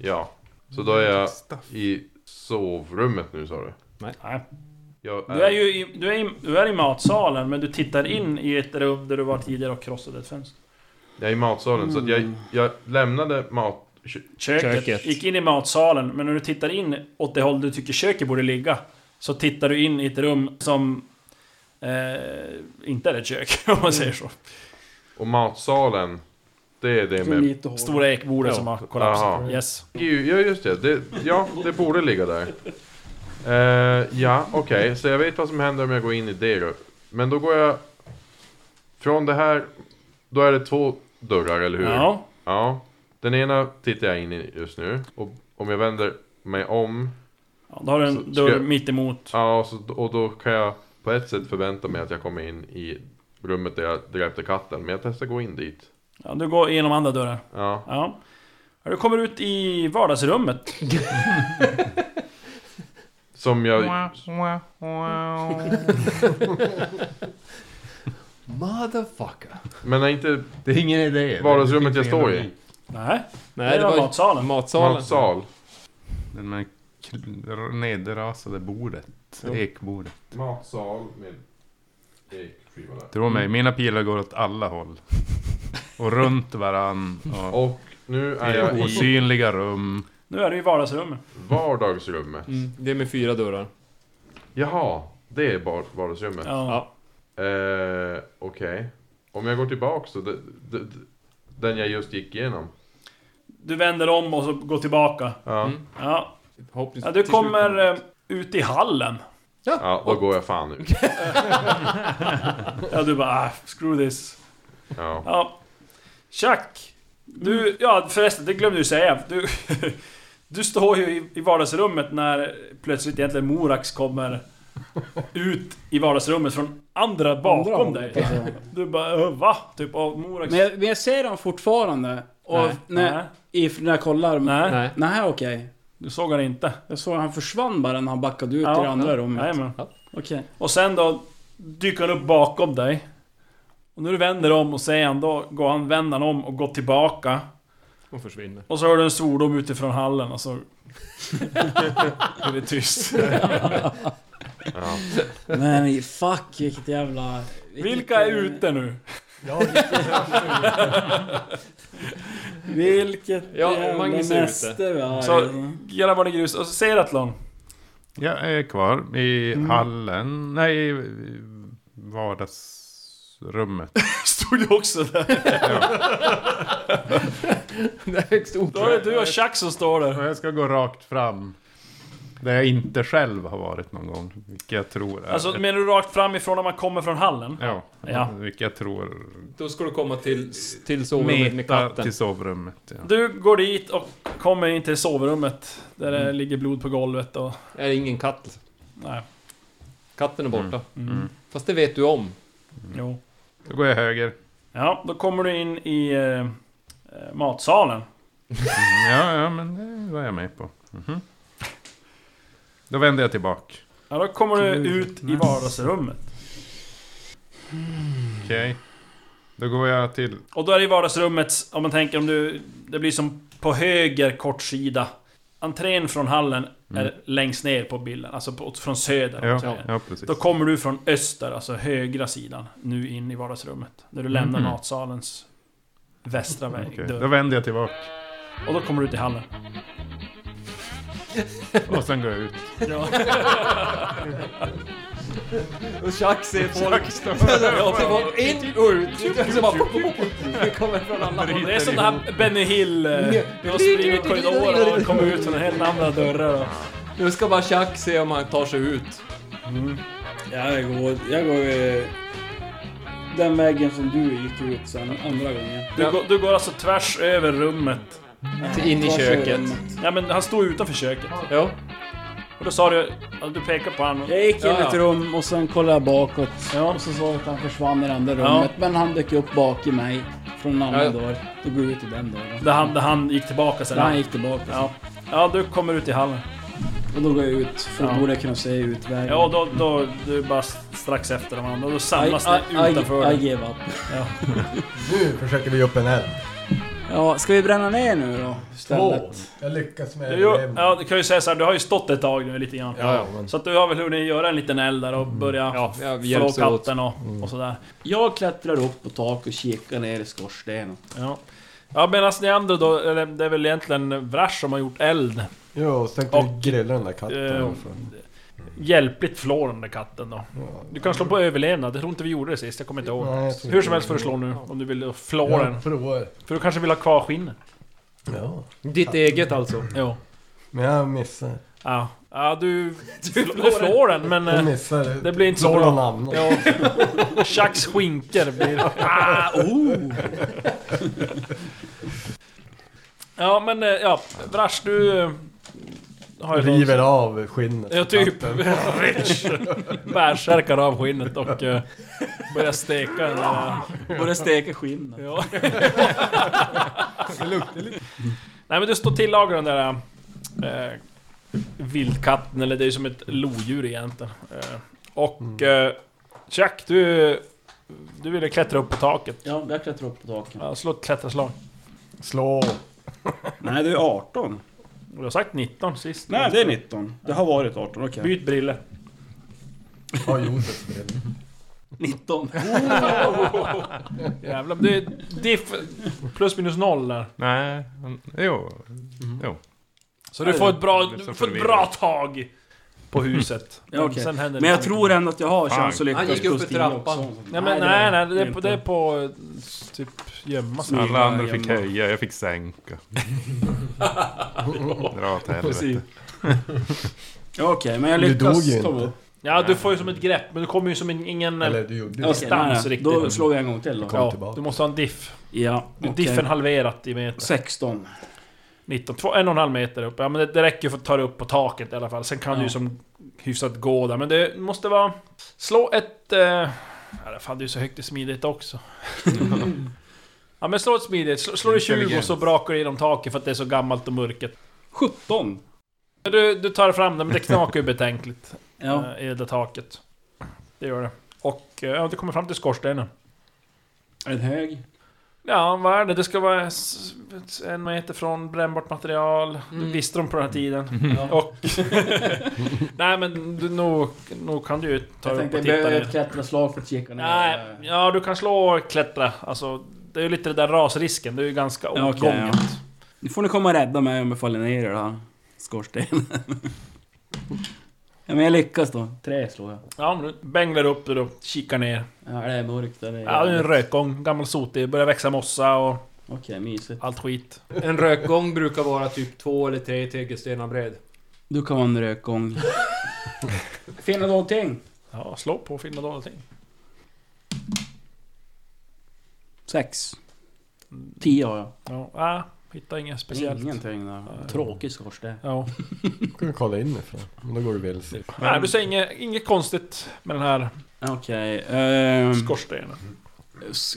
Speaker 8: Ja. Så då är jag i sovrummet nu, sa du?
Speaker 2: Nej.
Speaker 8: Jag
Speaker 2: Du är ju i, du är i, du är i matsalen, men du tittar in i ett rum där du var tidigare och krossade ett fönster.
Speaker 8: Jag är i matsalen, så att
Speaker 2: Mm.
Speaker 8: jag, jag lämnade mat... kö-
Speaker 2: Köket.
Speaker 3: Köket.
Speaker 2: Gick in i matsalen, men när du tittar in åt det håll du tycker köket borde ligga. Så tittar du in i ett rum som... Eh, inte är ett kök, om man säger så.
Speaker 8: Mm. Och matsalen, det är det
Speaker 4: Från
Speaker 2: Mm.
Speaker 8: med...
Speaker 4: lite hål.
Speaker 2: Stora ekbordet som har kollapsat.
Speaker 8: Jaha.
Speaker 2: Yes.
Speaker 8: Ja, just det. det ja, det borde ligga där. Eh, ja, okej. Så jag vet vad som händer om jag går in i det rum. Men då går jag... Från det här... Då är det två dörrar, eller hur?
Speaker 2: Ja.
Speaker 8: Ja. Den ena tittar jag in i just nu. Och om jag vänder mig om...
Speaker 2: Ja, Då har du
Speaker 8: Så
Speaker 2: en
Speaker 8: ska
Speaker 2: dörr
Speaker 8: jag-
Speaker 2: mitt emot.
Speaker 8: Ja, och, så, och då kan jag på ett sätt förvänta mig att jag kommer in i rummet där jag dräpte katten. Men jag testar gå in dit.
Speaker 2: Ja, du går igenom andra dörren.
Speaker 8: Ja.
Speaker 2: Ja. Ja, Du kommer ut i vardagsrummet.
Speaker 8: Som jag...
Speaker 3: Motherfucker.
Speaker 8: Men är inte
Speaker 6: Det är ingen idé.
Speaker 8: Vardagsrummet jag står i.
Speaker 2: Nej,
Speaker 3: Nej,
Speaker 2: det,
Speaker 3: det
Speaker 2: var
Speaker 3: var
Speaker 2: matsalen.
Speaker 3: matsalen.
Speaker 8: matsal.
Speaker 6: Den med kl- nedrasade bordet. Ekbordet.
Speaker 8: Matsal med ekskiva där.
Speaker 6: Tro mig, mina pilar går åt alla håll. Och runt varann. Och
Speaker 8: Och nu är jag
Speaker 6: i
Speaker 8: i
Speaker 6: osynliga rum.
Speaker 2: Nu är du i vardagsrummet.
Speaker 8: vardagsrummet.
Speaker 3: Mm, det är med fyra dörrar.
Speaker 8: Jaha, det är bar- vardagsrummet.
Speaker 2: Ja.
Speaker 3: Ja.
Speaker 8: Eh, Okej. Om jag går tillbaks då. Det, det, det, Den jag just gick igenom.
Speaker 2: Du vänder om och så går tillbaka.
Speaker 8: Ja,
Speaker 3: Mm.
Speaker 2: Ja,
Speaker 3: Förhoppningsvis.
Speaker 2: ja du
Speaker 3: till slut
Speaker 2: kommer eh, ut i hallen.
Speaker 8: ja då går jag fan ut.
Speaker 2: Ja, du bara ah, screw this.
Speaker 8: Ja.
Speaker 2: Ja. Chuck! Du, ja förresten, det glömde du säga. Du, du står ju i, i vardagsrummet när plötsligt egentligen Morax kommer ut i vardagsrummet från andra bakom
Speaker 4: Andra
Speaker 2: dig.
Speaker 4: hållet.
Speaker 2: Du bara "Ö, va? Typ av Morax...
Speaker 4: Men jag, men jag ser dem fortfarande. Och
Speaker 3: Nej.
Speaker 4: när,
Speaker 2: Nej.
Speaker 4: I, när jag kollar.
Speaker 2: Nej.
Speaker 3: Nej.
Speaker 4: Nej, okej.
Speaker 2: Du såg han inte.
Speaker 4: Jag såg att han försvann bara när han backade ut
Speaker 2: Ja,
Speaker 4: i det andra rummet.
Speaker 2: Jajamän.
Speaker 4: Okej.
Speaker 2: Och sen då dyker han upp bakom dig. Och när du vänder om och säger han då går han, vänder han om och går tillbaka.
Speaker 3: Hon försvinner.
Speaker 2: Och så hör du en svordom utifrån hallen och så... är det tyst.
Speaker 8: Ja.
Speaker 4: Men fuck vilket jävla... vilket,
Speaker 2: Vilka är
Speaker 4: eh,
Speaker 2: ute nu?
Speaker 5: Ja, det-
Speaker 4: Vilket
Speaker 3: Ja, Magnus är
Speaker 4: ute. vi har.
Speaker 2: Så- Grabbarn i grus och så Seratlon.
Speaker 6: Jag är kvar i hallen. Nej, i vardagsrummet.
Speaker 2: Stod ju också där.
Speaker 3: Det är högst
Speaker 2: Då är det
Speaker 3: oklart.
Speaker 2: du och Chuck som står
Speaker 6: Och
Speaker 2: där.
Speaker 6: jag ska gå rakt fram. Där jag inte själv har varit någon gång. Vilket jag tror är...
Speaker 2: Alltså menar du rakt framifrån när man kommer från hallen?
Speaker 6: ja,
Speaker 2: Ja.
Speaker 6: vilket jag tror...
Speaker 3: Då ska du komma till, till sovrummet med
Speaker 6: Meta
Speaker 3: katten.
Speaker 6: till sovrummet. Ja.
Speaker 2: Du går dit och kommer in till sovrummet. Där det ligger blod på golvet och...
Speaker 3: Är det ingen katt?
Speaker 2: Nej.
Speaker 3: Katten är borta.
Speaker 2: Mm.
Speaker 3: Fast det vet du om.
Speaker 2: Jo.
Speaker 6: Då går jag höger.
Speaker 2: Ja, då kommer du in i eh, eh, matsalen.
Speaker 6: Ja, ja, men det var jag med på. Mhm. Då vänder jag tillbaka.
Speaker 2: Ja, då kommer du
Speaker 4: Gud,
Speaker 2: ut i vardagsrummet.
Speaker 6: Okej. Då går jag till...
Speaker 2: Och då är det i vardagsrummet, om man tänker om du... Det blir som på höger kortsida. Entrén från hallen är längst ner på bilden, alltså på, från söder. om man
Speaker 6: Ja,
Speaker 2: säger.
Speaker 6: ja precis.
Speaker 2: Då kommer du från öster, alltså högra sidan, nu in i vardagsrummet. När
Speaker 4: Mm.
Speaker 2: du lämnar
Speaker 6: Mhm.
Speaker 2: matsalens västra väg,
Speaker 6: Okej, Då
Speaker 2: dörr.
Speaker 6: vänder jag tillbaka.
Speaker 2: Och då kommer du ut i hallen.
Speaker 6: Och sen går jag ut.
Speaker 3: Och Chuck ser folk... Ja, så folk in och ut. Så bara... Det kommer från alla
Speaker 2: Och
Speaker 3: håll.
Speaker 2: det är som den här Benny Hill... eh, De springer i korridorer och kommer ut från helt andra dörrar. och-
Speaker 3: Nu ska bara Chuck se om han tar sig ut.
Speaker 4: Jag går... Jag går... eh, Den vägen som du gick ut sen andra gången.
Speaker 2: Du, går, du går alltså tvärs över rummet.
Speaker 3: Till in i
Speaker 4: Varsågod.
Speaker 3: köket.
Speaker 2: Ja men han står ju utanför köket.
Speaker 3: Ja.
Speaker 2: Och då sa du... ja, Du pekar på honom.
Speaker 4: Jag gick in
Speaker 3: Ja,
Speaker 4: i
Speaker 3: ja.
Speaker 4: ett rum och sen kollade jag bakåt. Och så såg jag att han försvann i det andra
Speaker 2: Ja.
Speaker 4: rummet. Men han dök upp bak i mig. Från en annan
Speaker 3: Ja, ja.
Speaker 4: dörr. Då går jag ut i den dörren.
Speaker 2: Där han, där han gick tillbaka sen.
Speaker 4: Där han gick tillbaka.
Speaker 2: Ja. ja, du kommer ut i hallen.
Speaker 4: Och då går jag ut. För då
Speaker 2: Ja.
Speaker 4: borde jag kunna se utvägen.
Speaker 2: Ja, och då, då... Du är bara strax efter de andra. Då
Speaker 4: I,
Speaker 2: samlas ni
Speaker 4: I,
Speaker 2: utanför.
Speaker 4: I, I
Speaker 2: dig.
Speaker 4: give up.
Speaker 5: nu försöker vi ge upp en eld.
Speaker 4: Ja, ska vi bränna ner nu då? Istället.
Speaker 5: Jag lyckas med
Speaker 2: Du, gör-
Speaker 5: det.
Speaker 2: ja, du kan ju säga så här, du har ju stått ett tag nu lite grann.
Speaker 5: Ja, ja, men
Speaker 2: Så att du har väl hunnit göra en liten eld där och börja
Speaker 3: Ja, vi
Speaker 2: flå
Speaker 3: hjälps åt.
Speaker 2: katten och,
Speaker 5: Mm.
Speaker 2: och sådär.
Speaker 4: Jag klättrar upp på tak och kikar ner i skorstenen.
Speaker 2: Ja. Ja medan ni andra då, eller det är väl egentligen Vrash som har gjort eld.
Speaker 5: Jo, och sen kan
Speaker 2: Och,
Speaker 5: vi grilla den där katten.
Speaker 2: eh,
Speaker 5: varför?
Speaker 2: Hjälpligt flår den där katten då. Du kan slå på överlevnad, jag tror inte vi gjorde det sist, jag kommer inte ihåg.
Speaker 5: Nej, jag tror
Speaker 2: Hur
Speaker 5: inte
Speaker 2: som
Speaker 5: vi
Speaker 2: helst får du slå
Speaker 5: gjorde
Speaker 2: nu, om du vill flå den.
Speaker 5: Jag provar.
Speaker 2: För du kanske vill ha kvar skinnet?
Speaker 5: Ja.
Speaker 3: Ditt eget alltså.
Speaker 2: Jo.
Speaker 5: Men jag missar.
Speaker 2: Ja. ja, du... Du flår den, men...
Speaker 5: Jag
Speaker 2: eh,
Speaker 5: missar.
Speaker 2: det blir inte så
Speaker 5: Slår
Speaker 2: bra.
Speaker 5: någon annan.
Speaker 2: Ja. Chucks skinker blir... Ah, oh. Ja men, eh, ja. Vrash, du... eh, Har ju
Speaker 5: River av skinnet.
Speaker 2: Ja, typ. Rich. Bärsärkar av skinnet och eh, börjar steka den där.
Speaker 4: Borde steka skinnet.
Speaker 2: Ja. Nej men du står till lager den där... Eh, vildkatten, eller det är ju som ett lodjur egentligen. Eh, och... Eh, Chuck, du... Du ville klättra upp på taket.
Speaker 4: Ja, jag klättrar upp på taket.
Speaker 2: Ja, slå ett klättraslag.
Speaker 5: Slå.
Speaker 4: Nej, det är 18.
Speaker 2: Du har sagt 19 sist.
Speaker 4: Nej, det är 19. Det har varit 18, okej.
Speaker 2: Byt brille.
Speaker 5: Ja, Josef vill.
Speaker 4: 19. Oh.
Speaker 2: Jävlar, men det är diff... Plus minus noll där.
Speaker 6: Nej, han- jo.
Speaker 2: Så du får ett bra,
Speaker 6: Det är så
Speaker 4: liksom
Speaker 2: du får ett bra
Speaker 6: förvirrande.
Speaker 2: tag på huset.
Speaker 4: Ja, okej.
Speaker 2: Sen händer
Speaker 4: Men jag
Speaker 2: det.
Speaker 4: tror ändå att jag har
Speaker 6: Fan.
Speaker 4: chans att lyckas.
Speaker 3: Han gick upp
Speaker 4: plus
Speaker 3: för
Speaker 4: tio
Speaker 3: trappan.
Speaker 4: också.
Speaker 2: Nej men nej, nej det, är på, det är på typ gömma sig.
Speaker 6: Alla andra fick
Speaker 2: Gömma.
Speaker 6: höja, jag fick sänka. Dra åt
Speaker 4: Precis.
Speaker 6: helvete.
Speaker 4: Okej, men jag
Speaker 5: Du dog
Speaker 4: lyckas
Speaker 5: ju
Speaker 4: ta
Speaker 5: inte.
Speaker 4: bort.
Speaker 2: Ja, du får ju som ett grepp, men du kommer ju som en, ingen...
Speaker 5: Eller du gjorde
Speaker 4: Ja,
Speaker 5: det.
Speaker 4: okej,
Speaker 2: Stans
Speaker 4: nej, nej.
Speaker 2: riktigt.
Speaker 4: Då slår jag en gång till då.
Speaker 5: Kom
Speaker 2: ja,
Speaker 5: tillbaka.
Speaker 2: du måste ha en diff.
Speaker 4: Ja,
Speaker 2: Du,
Speaker 4: okej.
Speaker 2: Diffen halverat i meter.
Speaker 4: 16.
Speaker 2: 19, två, en och en halv meter upp. Ja men det, det räcker för att ta dig upp på taket i alla fall. Sen kan
Speaker 4: Ja.
Speaker 2: du ju som hyfsat gå där. Men det måste vara... Slå ett... Eh, ja, det fan, det är ju så högt i smidigt också. ja men slå ett smidigt. Slå, slår du 20 och så
Speaker 6: Intelligens.
Speaker 2: brakar du genom taket för att det är så gammalt och mörkt.
Speaker 4: 17.
Speaker 2: Men Du, du tar fram det, men det knakar ju betänkligt.
Speaker 4: Ja.
Speaker 2: eh, I det där taket. Det gör det. Och eh, ja, du kommer fram till skorstenen.
Speaker 4: En hög.
Speaker 2: Ja, vad är det? Det ska vara s- en meter från brännbart material.
Speaker 4: Mm.
Speaker 2: Du visste dem på den här tiden.
Speaker 4: Ja.
Speaker 2: Och... Nej men du, nog, nog kan du ju ta
Speaker 4: Jag
Speaker 2: upp och
Speaker 4: tänkte jag
Speaker 2: titta
Speaker 4: behöver ett
Speaker 2: ner.
Speaker 4: klätterslag för att kika ner.
Speaker 2: Nej, ja du kan slå och klättra. Alltså, det är ju lite den där rasrisken. Det är ju ganska
Speaker 4: Ja,
Speaker 2: åtgånget.
Speaker 4: okej, ja. Nu får ni komma och rädda mig om jag faller ner i den här skorstenen. ja, men jag lyckas då. Tre slår jag.
Speaker 2: Ja, men du bänglar upp och då kikar ner.
Speaker 4: Ja, det är mörkt. där. Det är
Speaker 2: Ja, det är en
Speaker 4: jävligt.
Speaker 2: rökgång. Gammal sotig. Börjar växa mossa och
Speaker 4: Okej, mysigt.
Speaker 2: allt skit.
Speaker 9: En rökgång brukar vara typ två eller tre tegelstenar bred.
Speaker 4: Du kan vara en rökgång. Finna någonting.
Speaker 2: Ja, slå på och finna någonting.
Speaker 4: Sex. Tio har jag.
Speaker 2: Ja, ah, hittar inget speciellt.
Speaker 4: Ingenting där. Tråkig skorsten.
Speaker 2: Ja.
Speaker 5: Du kan kolla inifrån. Men då går du vilse.
Speaker 2: Nej, du säger inget, inget konstigt med den här
Speaker 4: Okej. ehm,
Speaker 2: skorstenen.
Speaker 4: s-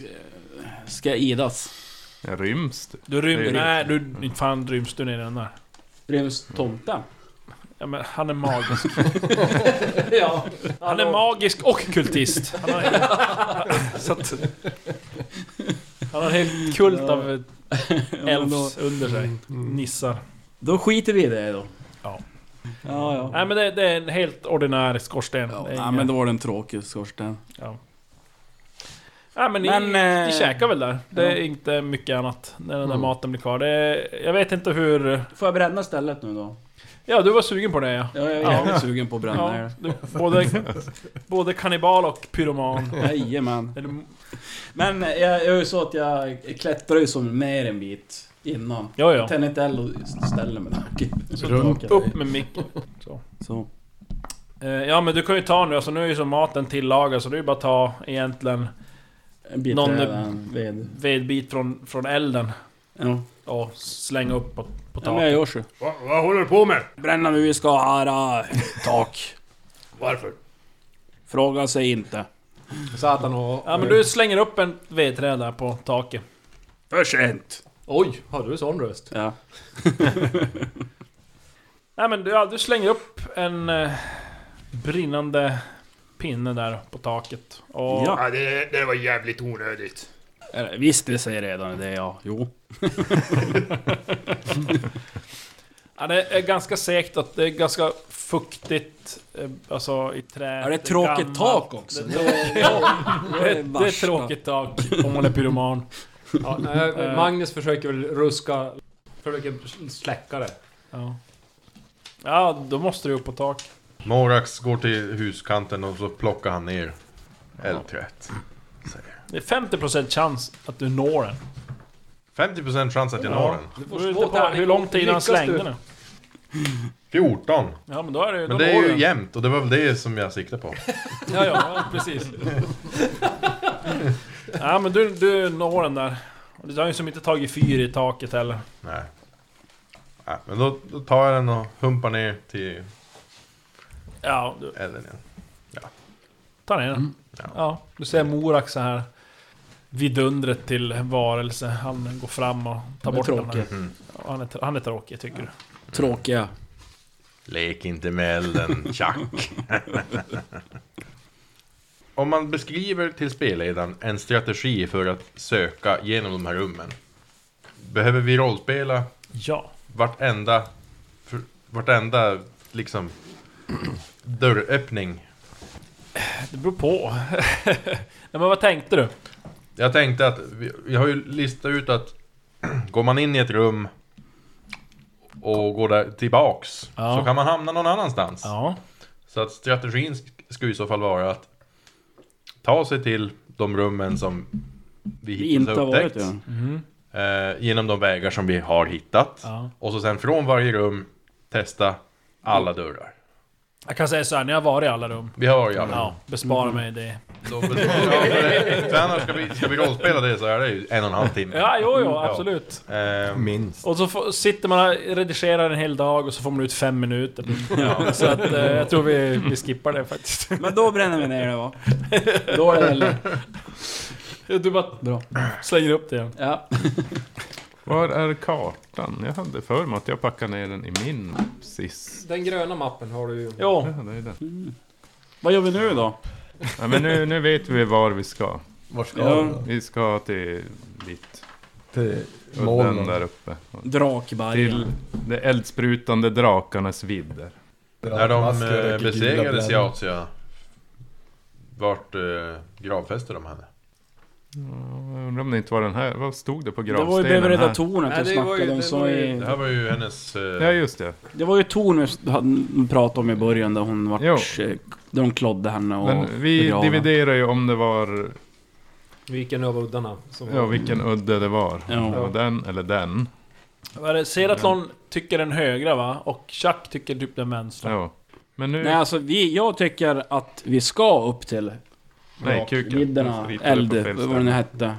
Speaker 4: ska jag idas?
Speaker 6: Jag ryms typ. du?
Speaker 2: Du
Speaker 6: Det
Speaker 2: rymmer...
Speaker 6: är
Speaker 2: Nej, du... Inte fan ryms du ner i den där.
Speaker 4: Ryms tomten?
Speaker 2: Ja, men han är magisk.
Speaker 4: ja.
Speaker 2: Han är magisk och kultist. Han har, så att, han har en hel kult av elfs under sig.
Speaker 4: Mm,
Speaker 2: Nissar.
Speaker 4: Då skiter vi i det då.
Speaker 2: Ja.
Speaker 4: Ja, ja.
Speaker 2: Nej men det, det är en helt ordinär skorsten.
Speaker 4: Ja,
Speaker 2: Det är
Speaker 4: nej,
Speaker 2: inga-
Speaker 4: men då var den tråkig skorsten.
Speaker 2: Nej men, ni,
Speaker 4: Men, eh,
Speaker 2: ni käkar väl där? Det är
Speaker 4: ja.
Speaker 2: inte mycket annat när den där
Speaker 5: Mm.
Speaker 2: maten blir kvar. Det är, jag vet inte hur...
Speaker 4: Får jag bränna stället nu då?
Speaker 2: Ja, du var sugen på det ja.
Speaker 4: Ja, jag är
Speaker 2: Ja.
Speaker 4: jävligt sugen på att bränna
Speaker 2: ja
Speaker 4: er.
Speaker 2: du, både, både kannibal och pyroman.
Speaker 4: Jajamän.
Speaker 2: Eller-
Speaker 4: Men jag, jag är ju så att jag klättrar ju som mer en bit innan.
Speaker 2: Ja, ja.
Speaker 4: Jag tänder ett eld och ställer mig där. typ. Så
Speaker 5: Runt
Speaker 4: tråkigt.
Speaker 2: Upp med micken.
Speaker 4: Så.
Speaker 2: Eh, Ja men du kan ju ta nu, alltså nu är ju så maten tillagad så det är ju bara att ta egentligen
Speaker 4: En bit
Speaker 2: Någon-
Speaker 4: Någon... ved.
Speaker 2: vedbit från, från elden
Speaker 4: Ja.
Speaker 2: och slänga upp på, på
Speaker 4: ja, men jag
Speaker 2: taket.
Speaker 4: gör så.
Speaker 7: Va, vad håller du på med?
Speaker 4: Bränna vi ska ära tak.
Speaker 7: Varför?
Speaker 4: Fråga sig inte.
Speaker 9: Satan och...
Speaker 2: Ja men du slänger upp en vedträ där på taket.
Speaker 4: För sent.
Speaker 9: Oj, har du sån röst?
Speaker 4: Ja.
Speaker 2: Nej men du, ja, du slänger upp en eh, brinnande pinne där på taket. Och
Speaker 4: Ja.
Speaker 7: Ja, det, det var jävligt onödigt.
Speaker 4: Eller, Visst, det säger redan det, ja. Jo.
Speaker 2: ja, det är ganska segt att det är ganska fuktigt, eh, alltså i trä.
Speaker 4: Ja, det är tråkigt tak också.
Speaker 2: Det,
Speaker 4: Det, är-
Speaker 2: det,
Speaker 4: det
Speaker 2: det är
Speaker 4: värsta.
Speaker 2: tråkigt tak om man är pyroman.
Speaker 9: Ja, nej, Eh, Magnus försöker väl ruska... Försöker släcka det.
Speaker 2: Ja. ja, då måste du upp på tak.
Speaker 8: Morax går till huskanten och så plockar han ner L31.
Speaker 2: Det är 50% chans att du når den.
Speaker 8: 50% chans att jag når den.
Speaker 9: Du
Speaker 2: Beror lite på hur lång tid han slängde den.
Speaker 8: 14.
Speaker 2: Ja men då är det ju...
Speaker 8: Men
Speaker 2: då
Speaker 8: det är
Speaker 2: når
Speaker 8: ju
Speaker 2: den.
Speaker 8: jämnt och det var väl det som jag siktade på.
Speaker 2: Ja, ja, precis. ja men du, du når den där. Och Du har ju som inte tagit fyr i taket heller.
Speaker 8: Nej. Nej men då, då tar jag den och humpar ner till
Speaker 2: Ja, du
Speaker 8: elden igen.
Speaker 2: tar ner den.
Speaker 8: Ja.
Speaker 2: Ja, du ser Morak så här. Vidundret till varelse. Han går fram och tar
Speaker 4: Han är
Speaker 2: bort den.
Speaker 4: tråkig.
Speaker 2: här. Ja, Han är, tr- han är tråkig tycker du.
Speaker 4: Tråkiga.
Speaker 8: Lek inte med elden, tjack. Om man beskriver till spelledaren en strategi för att söka genom de här rummen. Behöver vi rollspela
Speaker 2: Ja.
Speaker 8: vartenda, för, vartenda liksom, dörröppning?
Speaker 2: Det beror på. Nej, men vad tänkte du?
Speaker 8: Jag tänkte att, vi, vi har ju listat ut att går man in i ett rum och går där tillbaks
Speaker 2: Ja.
Speaker 8: så kan man hamna någon annanstans.
Speaker 2: Ja.
Speaker 8: Så att strategin sk- skulle i så fall vara att ta sig till de rummen som vi
Speaker 4: Vi
Speaker 8: hittills
Speaker 4: inte
Speaker 8: har
Speaker 4: har varit
Speaker 8: upptäckt.
Speaker 4: ja.
Speaker 2: Mhm.
Speaker 8: eh, genom de vägar som vi har hittat.
Speaker 2: Ja.
Speaker 8: Och så sen från varje rum testa alla dörrar.
Speaker 2: Jag kan säga så här, ni har varit i alla rum.
Speaker 8: Vi har ju alla.
Speaker 2: Ja, bespara
Speaker 4: Mm.
Speaker 2: mig det.
Speaker 8: Då betalar jag för det. För annars ska vi, ska vi rollspela det så är det ju en och en halv timme.
Speaker 2: Ja, jo, jo,
Speaker 8: Ja.
Speaker 2: absolut.
Speaker 8: Ehm,
Speaker 5: Minst.
Speaker 2: Och så får, sitter man och redigerar en hel dag och så får man ut fem minuter.
Speaker 4: Mm.
Speaker 8: Ja.
Speaker 2: Så att, eh, jag tror vi, vi skippar det faktiskt.
Speaker 4: Men då bränner vi ner det va? Då är det väl...
Speaker 2: Du bara
Speaker 4: Bra.
Speaker 2: slänger upp det igen.
Speaker 4: Ja.
Speaker 6: Var är kartan? Jag hade för mig att jag packade ner den i min sist.
Speaker 9: Den gröna mappen har du ju.
Speaker 6: Ja,
Speaker 2: Jo,
Speaker 6: det är den.
Speaker 4: Vad gör vi nu då?
Speaker 6: Ja, men nu, nu vet vi var vi ska.
Speaker 5: Vart ska
Speaker 4: Ja.
Speaker 5: vi då?
Speaker 6: Vi ska till dit.
Speaker 5: Till
Speaker 6: Udden där
Speaker 5: molnen.
Speaker 6: uppe. Och Till
Speaker 4: Drakbergen.
Speaker 6: de eldsprutande drakarnas vidder.
Speaker 8: När de
Speaker 5: Masker,
Speaker 8: eh,
Speaker 5: gula
Speaker 8: besegrade
Speaker 5: brännor.
Speaker 8: Siatia, vart eh, gravfäste de henne?
Speaker 6: Jag undrar om det inte var den här. Vad stod det på
Speaker 4: Det var ju
Speaker 6: gravstenen
Speaker 4: Beverida
Speaker 6: här?
Speaker 4: tornet
Speaker 9: Nej,
Speaker 4: du
Speaker 9: det var ju-
Speaker 4: snackade om
Speaker 9: det
Speaker 4: som
Speaker 9: var ju-
Speaker 4: i...
Speaker 8: Det här var ju hennes... eh,
Speaker 6: Ja, just det.
Speaker 4: Det var ju torn vi hade- pratade om i början där hon vart...
Speaker 6: Jo.
Speaker 4: eh, Där hon klodde henne och...
Speaker 6: Men vi
Speaker 4: begravde.
Speaker 6: dividerar ju om det var...
Speaker 9: Vilken av uddarna? Som
Speaker 6: Ja, vilken udde det var.
Speaker 4: Ja.
Speaker 6: Det var den eller den.
Speaker 2: Vad är det? Seratlon tycker den högra va? Och Chuck tycker typ den vänstra.
Speaker 6: Ja. Men nu...
Speaker 4: Nej alltså vi, jag tycker att vi ska upp till
Speaker 6: Nej, kuken. Jag
Speaker 4: vidderna,
Speaker 6: hittade på
Speaker 4: eld,
Speaker 6: fel
Speaker 4: vad var det
Speaker 6: ställe.
Speaker 4: nu hette.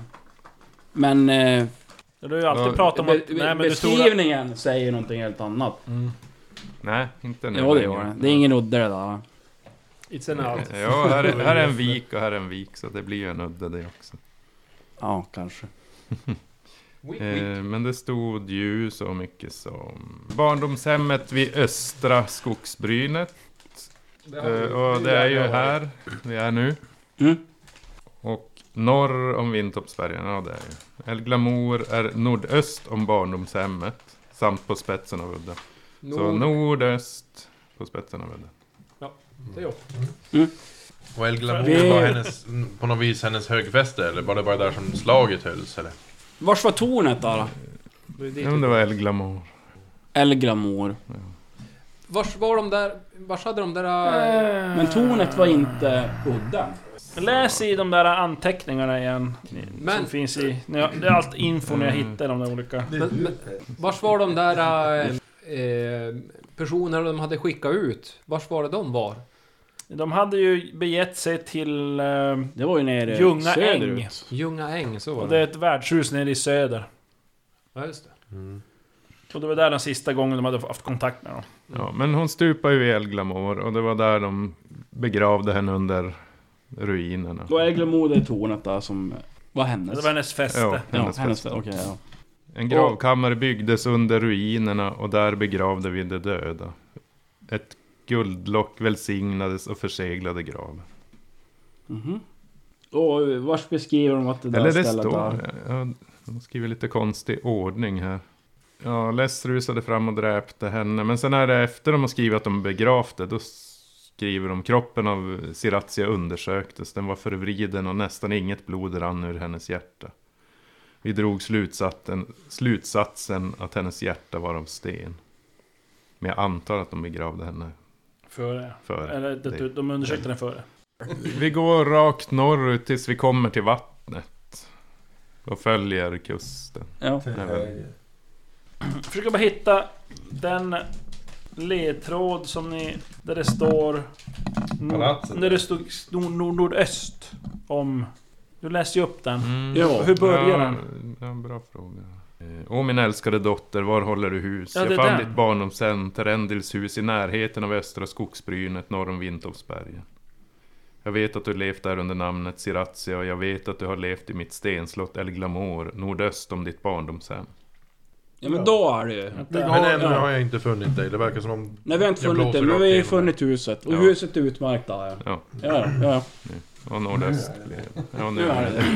Speaker 4: Men... Eh,
Speaker 2: Du har ju alltid
Speaker 6: Ja,
Speaker 2: pratat om att...
Speaker 4: be,
Speaker 2: nej men du tror...
Speaker 4: beskrivningen säger någonting helt annat.
Speaker 6: Nej, inte nu
Speaker 4: Ja det
Speaker 6: längre.
Speaker 4: gör det. Det är ingen udde det där va?
Speaker 9: It's an out.
Speaker 6: Ja, här är, här är en vik och här är en vik, så det blir ju en udde det också.
Speaker 4: Ja, kanske.
Speaker 6: Eh, men det stod ju så mycket som barndomshemmet vid Östra skogsbrynet. Eh, och det är ju här vi är nu.
Speaker 4: Mm.
Speaker 6: Och norr om Vintoppsbergen, ja det är ju. Elglamour är nordöst om barndomshemmet. Samt på spetsen av udden. Så
Speaker 9: Nord.
Speaker 6: nordöst på spetsen av udden.
Speaker 9: Det är ju-
Speaker 8: Och El Glamour
Speaker 4: Vi-
Speaker 8: var hennes, på något vis hennes högfäste eller var det bara där som slaget hölls eller?
Speaker 4: Vars var tornet då?
Speaker 9: det är dit.
Speaker 6: Ja,
Speaker 3: typ
Speaker 6: men det var Elglamour.
Speaker 4: Elgramor.
Speaker 9: Vars var de där? Vars hade de där...
Speaker 2: Eh.
Speaker 9: Äh,
Speaker 4: Men tornet var inte udden.
Speaker 2: Läs i de där anteckningarna igen.
Speaker 9: men
Speaker 2: Som finns i... nu har- Det är allt info när jag hittar de där olika...
Speaker 9: Men, men, vars var de där eh, eh, personerna de hade skickat ut? Vars var det de var?
Speaker 2: De hade ju begett sig till... Eh,
Speaker 4: Det var ju nere
Speaker 2: Ljunga
Speaker 4: söderut.
Speaker 2: äng.
Speaker 9: Ljunga äng, så var
Speaker 2: och
Speaker 9: det.
Speaker 2: det är ett värdshus nere i söder.
Speaker 9: Ja, just det.
Speaker 2: Och det var där den sista gången de hade haft kontakt med dem.
Speaker 6: Ja, men hon stupade ju i Elglamour och det var där de begravde henne under ruinerna.
Speaker 4: Då är Elgramor det tornet där som... Vad
Speaker 2: Det
Speaker 4: hennes?
Speaker 2: var hennes fäste.
Speaker 6: Ja,
Speaker 4: Ja,
Speaker 6: hennes
Speaker 4: hennes.
Speaker 6: fest.
Speaker 4: Okej, ja.
Speaker 6: En gravkammare byggdes under ruinerna och där begravde vi de döda. Ett guldlock välsignades och förseglade graven.
Speaker 4: Mhm. Och eh, vars beskriver de att det där
Speaker 6: Eller det
Speaker 4: stället
Speaker 6: står...
Speaker 4: är?
Speaker 6: Ja, de skriver lite konstig ordning här. Ja, Less rusade fram och dräpte henne. Men sen är det efter de har skrivit att de begravde, då skriver de kroppen av Siratia undersöktes. Den var förvriden och nästan inget blod rann ur hennes hjärta. Vi drog slutsatsen, slutsatsen att hennes hjärta var av sten. Men jag antar att de begravde henne
Speaker 2: Före.
Speaker 6: före.
Speaker 2: Eller det, de undersökte den före.
Speaker 6: Vi går rakt norrut tills vi kommer till vattnet. Och följer kusten.
Speaker 4: Ja.
Speaker 5: Till
Speaker 6: Nej,
Speaker 5: höger.
Speaker 2: Jag försöker bara hitta den ledtråd som ni... Där det står...
Speaker 8: Palatset.
Speaker 2: Där det stod nord, nord, nordöst om... Du läste ju upp den.
Speaker 4: Ja.
Speaker 2: Hur börjar
Speaker 6: Mm. ja,
Speaker 2: den?
Speaker 6: Ja, bra fråga. Eh, Åh min älskade dotter, var håller du hus?
Speaker 2: Ja, det
Speaker 6: jag
Speaker 2: är
Speaker 6: fann
Speaker 2: den.
Speaker 6: ditt barndomshem, Terendils hus, i närheten av Östra skogsbrynet norr om Vintoppsbergen. Jag vet att du levt där under namnet Siratia och jag vet att du har levt i mitt stenslott El Glamour, nordöst om ditt barndomshem.
Speaker 4: ja, men då är det ju.
Speaker 2: Men
Speaker 8: Men
Speaker 4: Ja,
Speaker 8: ännu
Speaker 4: ja.
Speaker 8: har jag inte funnit dig, det verkar som om...
Speaker 4: Nej vi har inte
Speaker 8: Jag
Speaker 4: funnit det,
Speaker 8: blåser
Speaker 4: men vi har ju
Speaker 8: rakt igenom
Speaker 4: funnit huset. Och
Speaker 6: Ja.
Speaker 4: huset är utmärkt där ja.
Speaker 6: Ja,
Speaker 4: Ja, ja.
Speaker 6: och nordöst blev Mm. ja,
Speaker 4: Nu är det det.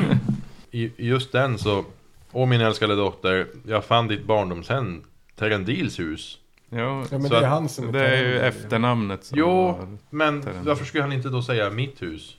Speaker 8: I i just den så... Åh min älskade dotter, jag fann ditt barndomshem, Terendils hus.
Speaker 6: Ja,
Speaker 5: Ja, men
Speaker 8: Så
Speaker 5: det är
Speaker 8: att-
Speaker 5: han som
Speaker 6: det är ju
Speaker 5: Terrell.
Speaker 6: efternamnet som
Speaker 8: Jo,
Speaker 6: har-
Speaker 8: men
Speaker 6: Terendil.
Speaker 8: varför skulle han inte då säga mitt hus?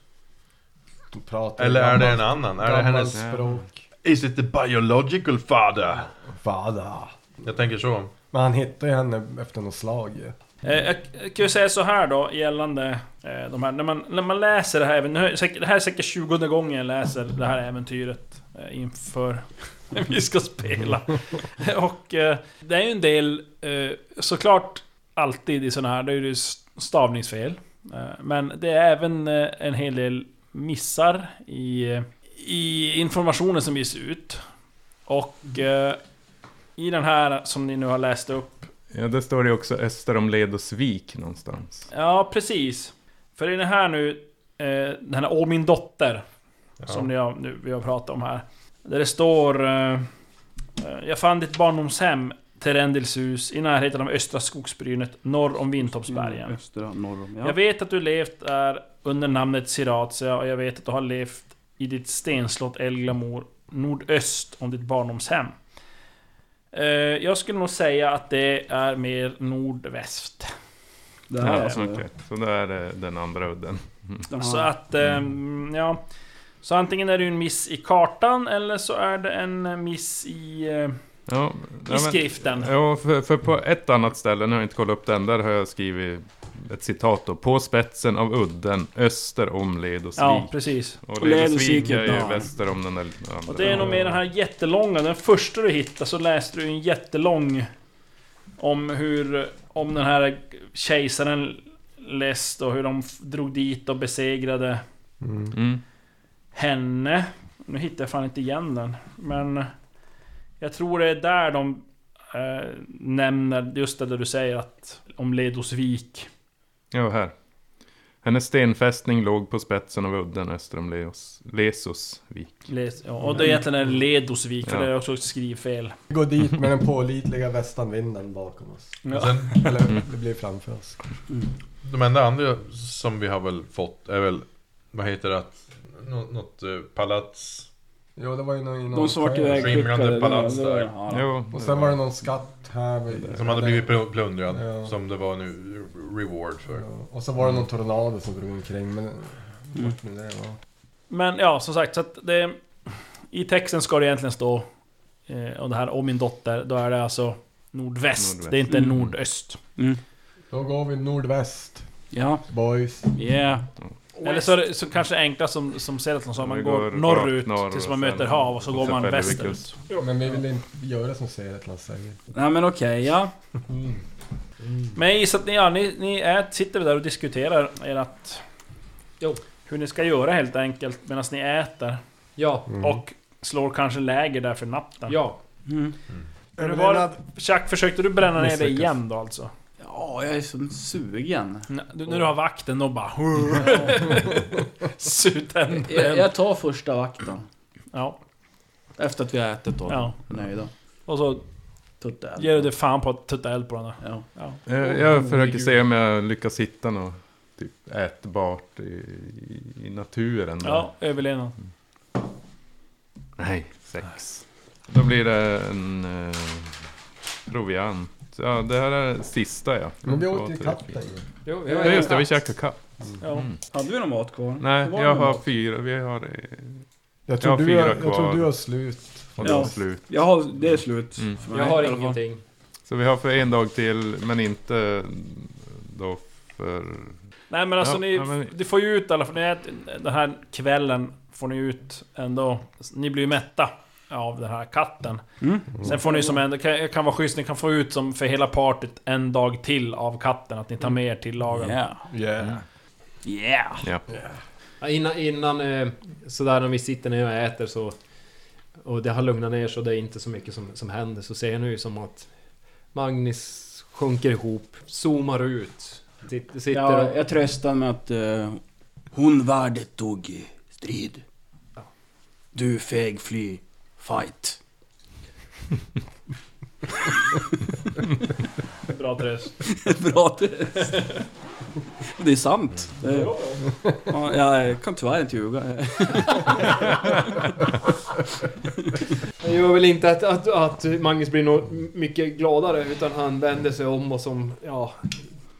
Speaker 5: De pratar
Speaker 8: Eller är det en
Speaker 5: gammalt-
Speaker 8: annan? Är det
Speaker 5: gammalt
Speaker 8: hennes...
Speaker 5: språk.
Speaker 8: Is it the biological father?
Speaker 5: Fada.
Speaker 8: Jag tänker så.
Speaker 5: Men han hittar ju henne efter något slag ju.
Speaker 2: Eh, Jag jag kan ju säga så här då gällande eh, de här, när man, när man läser det här äventyret, det här är säkert 20 gången jag läser det här äventyret eh, inför vi ska spela. Och eh, det är ju en del, eh, såklart alltid i sådana här, då är det ju stavningsfel. Eh, Men det är även eh, en hel del missar i, eh, i informationen som ges ut. Och eh, i den här som ni nu har läst upp
Speaker 6: Ja, där står det också öster om Ledosvik någonstans.
Speaker 2: Ja, precis. För i den här nu, eh, den här Å min dotter, som ni har, nu, vi har pratat om här. Där det står... Eh, eh, jag fann ditt barndomshem, Terendils hus, i närheten av östra skogsbrynet, norr om Vintoppsbergen.
Speaker 4: Mm,
Speaker 10: Östra, norr om.
Speaker 2: Jag
Speaker 10: Ja.
Speaker 2: vet att du levt där under namnet Siratia och jag vet att du har levt i ditt stenslott Elglamor nordöst om ditt barndomshem. Eh, Jag skulle nog säga att det är mer nordväst.
Speaker 10: Det här
Speaker 6: Ja,
Speaker 10: är-
Speaker 6: så, okej. så där är det den andra udden.
Speaker 10: den
Speaker 2: Så
Speaker 10: har-
Speaker 2: att, ehm, ja. Så antingen är det ju en miss i kartan eller så är det en miss i... eh,
Speaker 6: Ja, ja,
Speaker 2: I skriften.
Speaker 6: Ja, för, för på ett annat ställe, nu har jag inte kollat upp den, där har jag skrivit ett citat då. På spetsen av udden, öster om Ledosvik.
Speaker 2: Ja, precis.
Speaker 6: Och
Speaker 10: Ledosvik
Speaker 6: Ledosvik
Speaker 10: är
Speaker 6: är
Speaker 10: bra.
Speaker 6: ju väster om den där andra.
Speaker 2: Och det är nog med den här jättelånga, den första du hittar så läste du en jättelång om hur, om den här kejsaren läst och hur de f- drog dit och besegrade
Speaker 6: Mm.
Speaker 2: henne. Nu hittar jag fan inte igen den. Men jag tror det är där de eh, nämner just det där du säger att om Ledosvik.
Speaker 6: Ja, här. Hennes stenfästning låg på spetsen av udden öster om Leos, Lesosvik.
Speaker 2: Les, ja, och det är egentligen en Ledosvik, för
Speaker 6: Ja.
Speaker 2: det är också ett skrivfel.
Speaker 5: Vi går dit med den pålitliga västanvinden bakom oss.
Speaker 2: Ja.
Speaker 8: Sen,
Speaker 5: Eller det blir framför oss.
Speaker 8: de enda andra som vi har väl fått är väl, vad heter det? att- Nå, något eh, palats?
Speaker 5: Jo, det var ju någon, någon
Speaker 4: De som vart
Speaker 5: skär.
Speaker 8: Skimrande
Speaker 4: ivägskickade... det var-
Speaker 8: palats
Speaker 4: det var-
Speaker 8: där.
Speaker 4: ja, då.
Speaker 6: Jo,
Speaker 5: Och sen var det någon skatt här. vid-
Speaker 8: Som hade blivit pl- plundrad.
Speaker 5: Ja.
Speaker 8: Som det var nu reward för.
Speaker 5: Ja, Och så var det någon tornado som drog omkring. Men bort med det va.
Speaker 2: Men ja, som sagt, så att det... I texten ska det egentligen stå... Eh, och det här om min dotter, då är det alltså nordväst.
Speaker 6: Nordväst.
Speaker 2: Det är inte
Speaker 4: Mm.
Speaker 2: nordöst.
Speaker 5: Då går vi nordväst,
Speaker 4: Ja,
Speaker 5: boys.
Speaker 2: Yeah. Eller så, är det, så kanske det är enklast som, som Seratlon sa,
Speaker 6: Ja,
Speaker 2: man
Speaker 6: vi
Speaker 2: går,
Speaker 6: går
Speaker 2: norrut
Speaker 6: rakt norr
Speaker 2: tills
Speaker 6: och
Speaker 2: man
Speaker 6: sen-
Speaker 2: möter hav och så går
Speaker 6: sen
Speaker 2: man
Speaker 6: följer vi
Speaker 2: västerut.
Speaker 6: kusten.
Speaker 5: Men vi vill inte göra som Seretland säger.
Speaker 4: nej men okej, ja.
Speaker 6: Mm.
Speaker 2: Men jag gissar att ni, ja, ni, ni är, sitter där och diskuterar ert...
Speaker 9: Jo.
Speaker 2: Hur ni ska göra helt enkelt medan ni äter.
Speaker 9: Ja,
Speaker 2: Och slår kanske läger där för natten.
Speaker 9: ja.
Speaker 4: Mm.
Speaker 2: Hur var det? Jack, försökte du bränna ner det
Speaker 5: Misslyckas.
Speaker 2: igen då alltså?
Speaker 4: Ja, jag är så sugen.
Speaker 2: N- du- När du har vakten och bara... Sut
Speaker 4: Jag,
Speaker 2: änden.
Speaker 4: jag tar första vakten.
Speaker 2: Ja,
Speaker 4: Efter att vi har ätit då.
Speaker 2: ja.
Speaker 4: Nöjda.
Speaker 2: Och så
Speaker 4: Tuttar jag.
Speaker 2: ger du det fan på att tutta eld på den där.
Speaker 4: Ja.
Speaker 2: Ja.
Speaker 6: Jag, jag försöker se om jag lyckas hitta något typ ätbart i, i- i naturen. där.
Speaker 2: ja, överlevnad.
Speaker 6: Nej, sex. Då blir det en eh, proviant. Ja, det här är sista ja.
Speaker 5: Men vi
Speaker 6: Två,
Speaker 5: åt ju
Speaker 6: tre,
Speaker 5: katten
Speaker 6: fyra.
Speaker 5: ju.
Speaker 9: Jo, vi har
Speaker 6: Ja,
Speaker 9: en
Speaker 6: just det, vi
Speaker 9: katt.
Speaker 6: käkade katt. Mm.
Speaker 2: Ja.
Speaker 4: Hade vi någon mat kvar?
Speaker 6: Nej,
Speaker 4: Det var
Speaker 6: jag
Speaker 4: någon
Speaker 6: har
Speaker 4: mat.
Speaker 6: fyra. Vi har... eh,
Speaker 5: Jag
Speaker 6: Jag har
Speaker 5: tror, du,
Speaker 6: fyra
Speaker 5: jag tror
Speaker 6: kvar.
Speaker 5: du har slut.
Speaker 6: Och det
Speaker 4: Ja.
Speaker 6: var slut.
Speaker 4: Jag har... Det är slut.
Speaker 6: Mm.
Speaker 4: För mig,
Speaker 9: Jag har
Speaker 4: i alla fall.
Speaker 9: ingenting.
Speaker 6: Så vi har för en dag till, men inte då för...
Speaker 2: Nej men alltså
Speaker 6: Ja,
Speaker 2: ni,
Speaker 6: ja, men-
Speaker 2: ni får ju ut i alla fall, ni äter, den här kvällen får ni ut ändå, ni blir ju mätta av den här katten.
Speaker 4: Mm.
Speaker 2: Sen får ni som en, det kan, det kan vara schysst, ni kan få ut som för hela partyt en dag till av katten, att ni
Speaker 4: Mm.
Speaker 2: tar med er till lagen.
Speaker 4: Yeah.
Speaker 5: Yeah.
Speaker 4: Yeah.
Speaker 6: Ja.
Speaker 9: Ja, innan, innan eh, sådär när vi sitter ner och äter så... Och det har lugnat ner så det är inte så mycket som, som händer. Så ser jag nu som att Magnus sjunker ihop, zoomar ut. Sitter, sitter
Speaker 4: Jag,
Speaker 9: och...
Speaker 4: jag tröstar med att eh, hon värdet dog i strid. Du feg fly fight.
Speaker 2: Bra tröst.
Speaker 4: Bra test. Det är sant. Det, ja, jag kan tyvärr inte ljuga.
Speaker 9: Det gör väl inte att, att, att Magnus blir nog mycket gladare utan han vänder sig om och som, ja,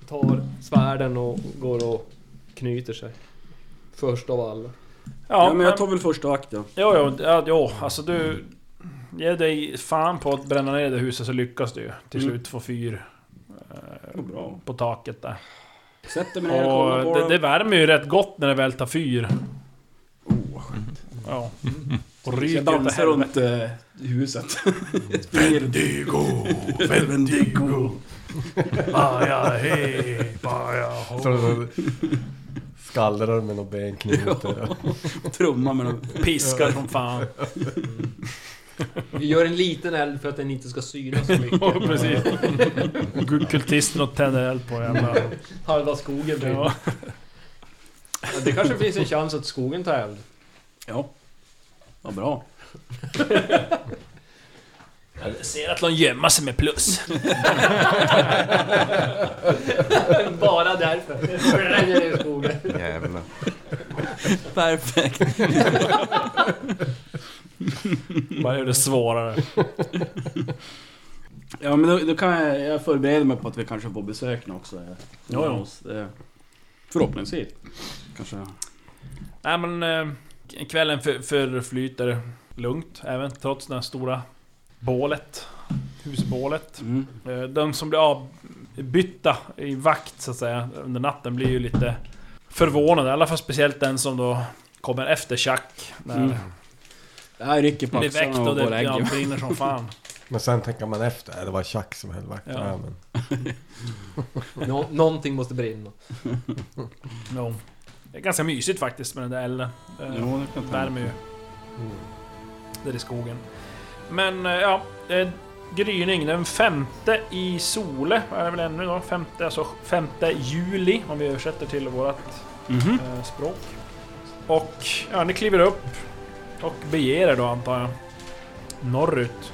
Speaker 9: tar svärden och går och knyter sig. Först av alla.
Speaker 4: Ja, men jag tar väl första akten.
Speaker 2: Jo, jo, ja, jo, alltså du... Ge dig fan på att bränna ner det huset så lyckas du ju. Till
Speaker 4: Mm.
Speaker 2: slut få fyr. Eh, eh, på taket där.
Speaker 4: Sätter mig ner och kollar på
Speaker 2: och det,
Speaker 4: dem.
Speaker 2: det värmer ju rätt gott när det väl tar fyr. Ja. Och ryker
Speaker 4: oh, Mm. Jag
Speaker 2: utav
Speaker 4: dansar
Speaker 2: helvete.
Speaker 4: runt eh, huset. Vendigo, Vendigo.
Speaker 2: Baja, hej, baja, ho.
Speaker 5: Skallrar med någon benknyter.
Speaker 4: Trummar med någon...
Speaker 2: Piskar som fan.
Speaker 9: Vi gör en liten eld för att den inte ska synas så mycket.
Speaker 2: Ja, precis. Går Kultisten och tänder eld på jävla...
Speaker 9: Halva skogen typ. brinner.
Speaker 2: Ja.
Speaker 9: Ja, det kanske finns en chans att skogen tar eld.
Speaker 4: Ja. Vad bra.
Speaker 2: Jag ser att de gömmer sig med plus.
Speaker 9: Bara därför. Bränner ner skogen.
Speaker 6: Jävlar.
Speaker 4: Perfekt.
Speaker 2: Bara gör det svårare.
Speaker 4: Ja men då, då kan jag, jag förbereda mig på att vi kanske får besök nu också. eh,
Speaker 2: Ja, ja.
Speaker 4: hos, eh, Förhoppningsvis. Kanske.
Speaker 2: Nej men... eh, Kvällen för, förflyter lugnt även trots det här stora bålet. Husbålet.
Speaker 4: Mm.
Speaker 2: Eh, De som blir avbytta i vakt så att säga under natten blir ju lite förvånade. I alla fall speciellt den som då kommer efter Chuck. När
Speaker 4: Mm. Jag rycker på
Speaker 2: blir väckt
Speaker 4: axlarna
Speaker 2: och
Speaker 4: och går och
Speaker 2: det
Speaker 4: lägger
Speaker 2: ja,
Speaker 4: mig.
Speaker 2: brinner som fan.
Speaker 5: Men sen tänker man efter, äh, det var Chuck som höll vakten.
Speaker 2: Ja.
Speaker 5: Ja. men.
Speaker 9: Nå- någonting måste brinna.
Speaker 2: Ja. Det är ganska mysigt faktiskt med den där elden. Eh,
Speaker 4: Jo, Mm. det kan jag tänka
Speaker 2: värmer ju. Där i skogen. Men eh, ja, eh, gryning den femte i Sole är det väl ännu då. Femte, alltså femte juli om vi översätter till vårat
Speaker 4: Mhm.
Speaker 2: eh, språk. Och ja, ni kliver upp och beger er då antar jag. Norrut.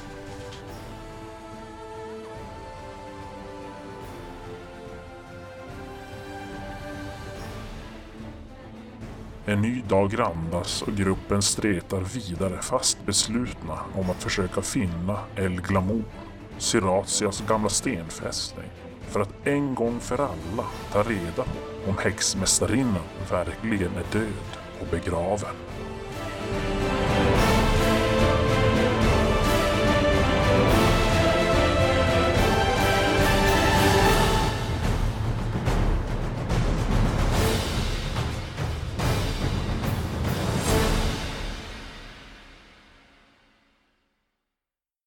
Speaker 1: En ny dag randas och gruppen stretar vidare fast beslutna om att försöka finna El Glamour, Syratias gamla stenfästning, för att en gång för alla ta reda på om häxmästarinnan verkligen är död och begraven.